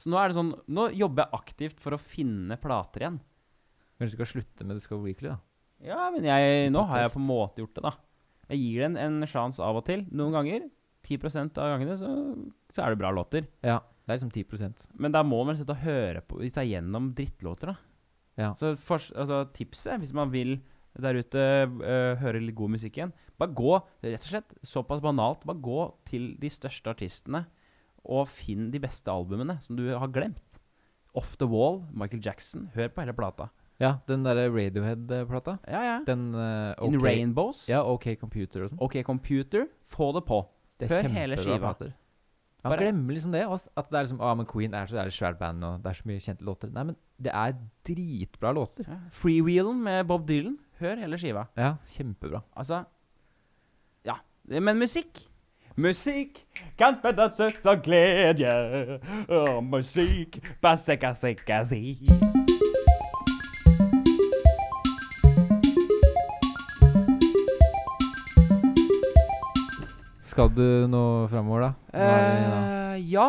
Speaker 2: Så nå er det sånn Nå jobber jeg aktivt for å finne plater igjen.
Speaker 1: Kanskje du skal slutte med Discover Weekly, da.
Speaker 2: Ja, men jeg, nå har jeg
Speaker 1: Protest.
Speaker 2: på en måte gjort det, da. Jeg gir den en sjanse av og til. Noen ganger. 10 av gangene så, så er det bra låter.
Speaker 1: Ja. Det er liksom 10
Speaker 2: Men da må man sitte og høre på seg gjennom drittlåter, da.
Speaker 1: Ja.
Speaker 2: Så fors- altså, tipset, hvis man vil der ute øh, høre litt god musikk igjen, bare gå rett og slett såpass banalt, bare gå til de største artistene og finn de beste albumene som du har glemt. Off The Wall, Michael Jackson. Hør på hele plata.
Speaker 1: Ja, den derre Radiohead-plata.
Speaker 2: Ja, ja.
Speaker 1: Den eh,
Speaker 2: In
Speaker 1: OK-
Speaker 2: Rainbows.
Speaker 1: Ja, OK Computer og sånn.
Speaker 2: OK Computer. Få det på.
Speaker 1: Det
Speaker 2: Hør
Speaker 1: er
Speaker 2: hele
Speaker 1: kjempebra
Speaker 2: skiva.
Speaker 1: plater. Man
Speaker 2: Bare-
Speaker 1: glemmer liksom det. også, At det er liksom ah, men Queen er så det er et svært band, og det er så mye kjente låter. Nei, men det er dritbra låter.
Speaker 2: Ja. Freewheelen med Bob Dylan. Hør hele skiva.
Speaker 1: Ja, kjempebra.
Speaker 2: Altså Ja. Men musikk Musikk kan bedømmes av glede. Og musikk basikassikasi.
Speaker 1: Skal du nå framover, da? Hva er det, da?
Speaker 2: ja.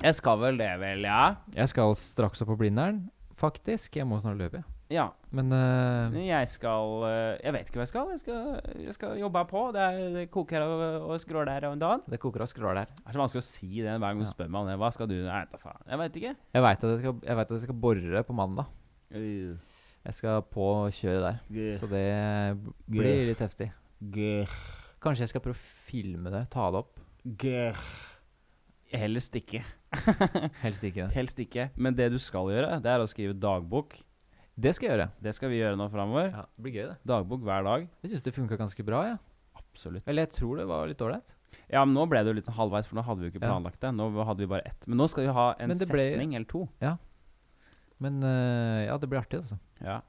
Speaker 2: Jeg skal vel det, vel, ja.
Speaker 1: Jeg skal straks opp på Blindern, faktisk. Jeg må snart løpe, jeg.
Speaker 2: Ja.
Speaker 1: Men eh,
Speaker 2: Jeg skal eh, Jeg vet ikke hva jeg skal. Jeg skal, jeg skal jobbe her på. Det, er, det koker og, og skrår der og da.
Speaker 1: det koker av skrar der.
Speaker 2: Det er så vanskelig å si det hver gang du
Speaker 1: Ja.
Speaker 2: spør meg om det. Hva skal du? Nei, da faen. Jeg vet ikke.
Speaker 1: Jeg veit at, jeg skal- jeg vet at jeg skal borre på mandag. Jeg skal på kjøret der. Så det b- blir litt heftig. Kanskje jeg skal prøve å filme det, ta det opp.
Speaker 2: Helst ikke.
Speaker 1: Helst ikke [laughs] det.
Speaker 2: Helst ikke. Men det du skal gjøre, det er å skrive dagbok.
Speaker 1: Det skal jeg gjøre.
Speaker 2: Det skal vi gjøre nå framover.
Speaker 1: Ja, det blir gøy, det.
Speaker 2: Dagbok hver dag.
Speaker 1: Jeg syns det funka ganske bra, jeg.
Speaker 2: Absolutt.
Speaker 1: Eller jeg tror det var litt ålreit.
Speaker 2: Ja, men nå ble det jo litt sånn halvveis, for nå hadde vi jo ikke
Speaker 1: Ja.
Speaker 2: planlagt det. Nå hadde vi bare ett. Men nå skal vi ha en
Speaker 1: Men det ble-
Speaker 2: setning eller to.
Speaker 1: Men eh, ja, det blir artig, altså.
Speaker 2: Ja.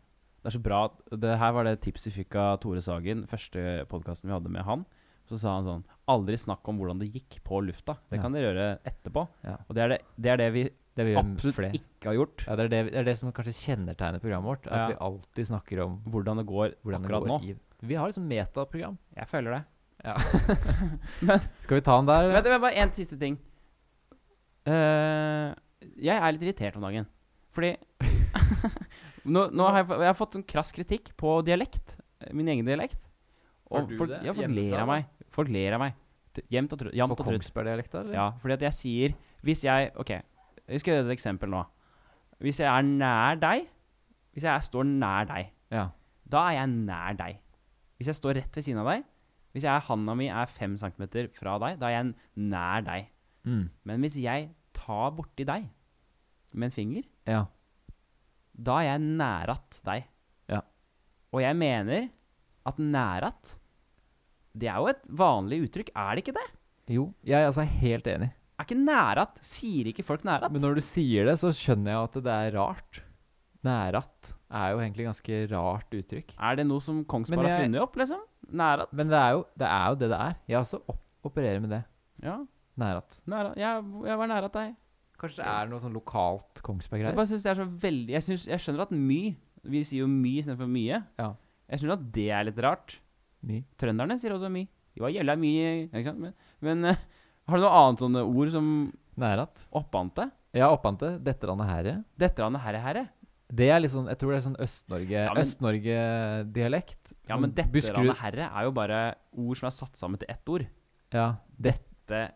Speaker 2: Det er så bra. at- Det her var det tipset vi fikk av Tore Sagen, første podkasten vi hadde med han. Så sa han sånn Aldri snakk om hvordan det gikk på lufta. Det
Speaker 1: Ja.
Speaker 2: kan dere gjøre etterpå.
Speaker 1: Ja.
Speaker 2: Og det er det, det er det vi
Speaker 1: Det vil gjøre
Speaker 2: absolutt
Speaker 1: flere.
Speaker 2: ikke har gjort.
Speaker 1: Ja, det, er det, det er det som kanskje kjennetegner programmet vårt. At
Speaker 2: Ja.
Speaker 1: vi alltid snakker om
Speaker 2: Hvordan det går
Speaker 1: hvordan
Speaker 2: akkurat
Speaker 1: det
Speaker 2: nå.
Speaker 1: går. I, vi har liksom metaprogram.
Speaker 2: Jeg føler det.
Speaker 1: Skal vi ta den der?
Speaker 2: Vent, vent, bare en siste ting. Eh, jeg er litt irritert om dagen. Fordi [laughs] nå, nå har jeg, jeg har fått sånn krass kritikk på dialekt. eh, Min egen dialekt.
Speaker 1: Har du
Speaker 2: folk,
Speaker 1: det?
Speaker 2: Ja, folk
Speaker 1: Hjemmefra,
Speaker 2: ler
Speaker 1: da?
Speaker 2: av meg. Folk ler av meg. T- Jevnt og trutt.
Speaker 1: På
Speaker 2: Jevnt og trutt.
Speaker 1: Kongsberg-dialekta, eller?
Speaker 2: Ja, fordi at jeg sier Hvis jeg OK, jeg skal gjøre et eksempel nå. Hvis jeg er nær deg Hvis jeg er- står nær deg,
Speaker 1: Ja.
Speaker 2: da er jeg nær deg. Hvis jeg står rett ved siden av deg Hvis jeg, handa mi er fem centimeter fra deg, da er jeg nær deg.
Speaker 1: Mm.
Speaker 2: Men hvis jeg tar borti deg med en finger,
Speaker 1: ja.
Speaker 2: da er jeg nærat deg.
Speaker 1: Ja.
Speaker 2: Og jeg mener at nærat Det er jo et vanlig uttrykk, er det ikke det?
Speaker 1: Jo, jeg er altså helt enig.
Speaker 2: Er ikke nærat Sier ikke folk nærat?
Speaker 1: Men når du sier det, så skjønner jeg at det er rart. Nærat er jo egentlig ganske rart uttrykk.
Speaker 2: Er det noe som Kongsberg
Speaker 1: Men
Speaker 2: har
Speaker 1: jeg-
Speaker 2: funnet opp, liksom? Nærat?
Speaker 1: Men det er jo det er jo det, det er. Jeg også opp, opererer med det.
Speaker 2: Ja.
Speaker 1: Nærat.
Speaker 2: Nærat. Jeg, jeg var nærat deg.
Speaker 1: Kanskje det er noe sånn lokalt
Speaker 2: Jeg
Speaker 1: Kongsberg-greier?
Speaker 2: bare synes det er så veldig jeg, synes, jeg skjønner at my Vi sier jo my istedenfor mye.
Speaker 1: Ja.
Speaker 2: Jeg skjønner at det er litt rart.
Speaker 1: Ny.
Speaker 2: Trønderne sier også mye. De var jævla mye ikke sant? Men, men eh, har du noe annet sånne ord som
Speaker 1: Nærat.
Speaker 2: oppante?
Speaker 1: Ja, oppante. Dette landet herre.
Speaker 2: Dette landet herre herre.
Speaker 1: Det er litt sånn, Jeg tror det er sånn Øst-Norge
Speaker 2: Ja, men-
Speaker 1: Øst-Norge-dialekt.
Speaker 2: Ja, men
Speaker 1: Sånn
Speaker 2: dette
Speaker 1: Buskerud-
Speaker 2: landet herre er jo bare ord som er satt sammen til ett ord.
Speaker 1: Ja, det,
Speaker 2: Det,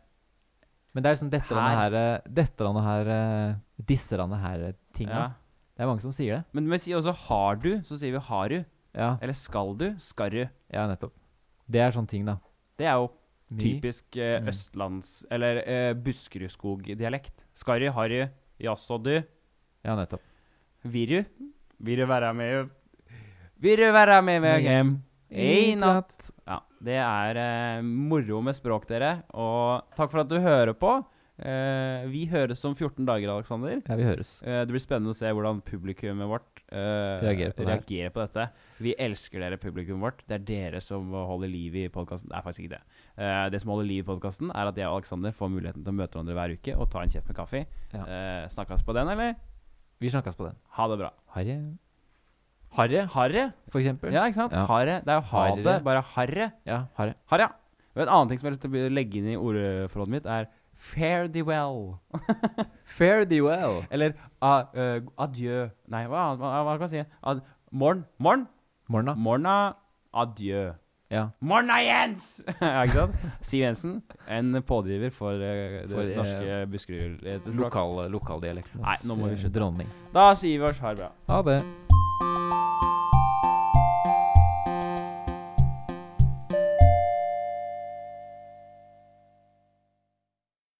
Speaker 1: men det er liksom dette landet her eh, Dette landet her eh, Disse landet her-tinga.
Speaker 2: ja.
Speaker 1: eh, Det er mange som sier det.
Speaker 2: Men vi sier også 'har du', så sier vi 'har du'.
Speaker 1: Ja,
Speaker 2: Eller 'skal du', 'skal du'.
Speaker 1: ja nettopp. Det er sånne ting, da.
Speaker 2: Det er jo
Speaker 1: Ny-
Speaker 2: typisk eh,
Speaker 1: Mm.
Speaker 2: østlands... Eller eh, Buskerudskog-dialekt. 'Skarru', 'harru', 'jaså du',
Speaker 1: Ja, nettopp.
Speaker 2: 'viru'. 'Viru være med', 'viru være med meg hjem'. I natt. Ja, det er eh, moro med språk, dere. Og takk for at du hører på. Eh, vi høres om 14 dager, Aleksander.
Speaker 1: Ja, vi høres.
Speaker 2: Eh, det blir spennende å se hvordan publikummet vårt eh,
Speaker 1: Reagerer på det her.
Speaker 2: reagerer på dette. Vi elsker dere, publikummet vårt. Det er dere som holder liv i podkasten. Det er faktisk ikke det. Eh, det som holder liv i podkasten, er at jeg og Aleksander får muligheten til å møte hverandre hver uke og ta en kjeft med kaffe.
Speaker 1: Ja.
Speaker 2: Eh, snakkes på den, eller?
Speaker 1: Vi snakkes på den.
Speaker 2: Ha det bra.
Speaker 1: Harry,
Speaker 2: Harre, harre.
Speaker 1: for eksempel.
Speaker 2: Ja, ikke sant?
Speaker 1: Ja.
Speaker 2: Harre. Det er jo ha
Speaker 1: Harre.
Speaker 2: det, bare harre.
Speaker 1: ja Harry.
Speaker 2: Har ja. Og En annen ting som jeg har lyst til å be- legge inn i ordforrådet mitt, er fare thee well. [laughs]
Speaker 1: Fare thee well.
Speaker 2: Eller ah, eh, adjø. Nei, hva, hva, hva kan jeg si? Ad, morgen. Morgen.
Speaker 1: Morna.
Speaker 2: Morna. Adjø.
Speaker 1: Ja.
Speaker 2: Morna, Jens! [laughs] ja, ikke sant? Siv Jensen, en pådriver for eh, det
Speaker 1: For, eh,
Speaker 2: norske Buskerud. eh, språk.
Speaker 1: Lokal, lokaldialektenes
Speaker 2: Nei, nå må vi
Speaker 1: eh,
Speaker 2: slutte.
Speaker 1: dronning.
Speaker 2: Da sier vi oss ha det bra.
Speaker 1: Ha det.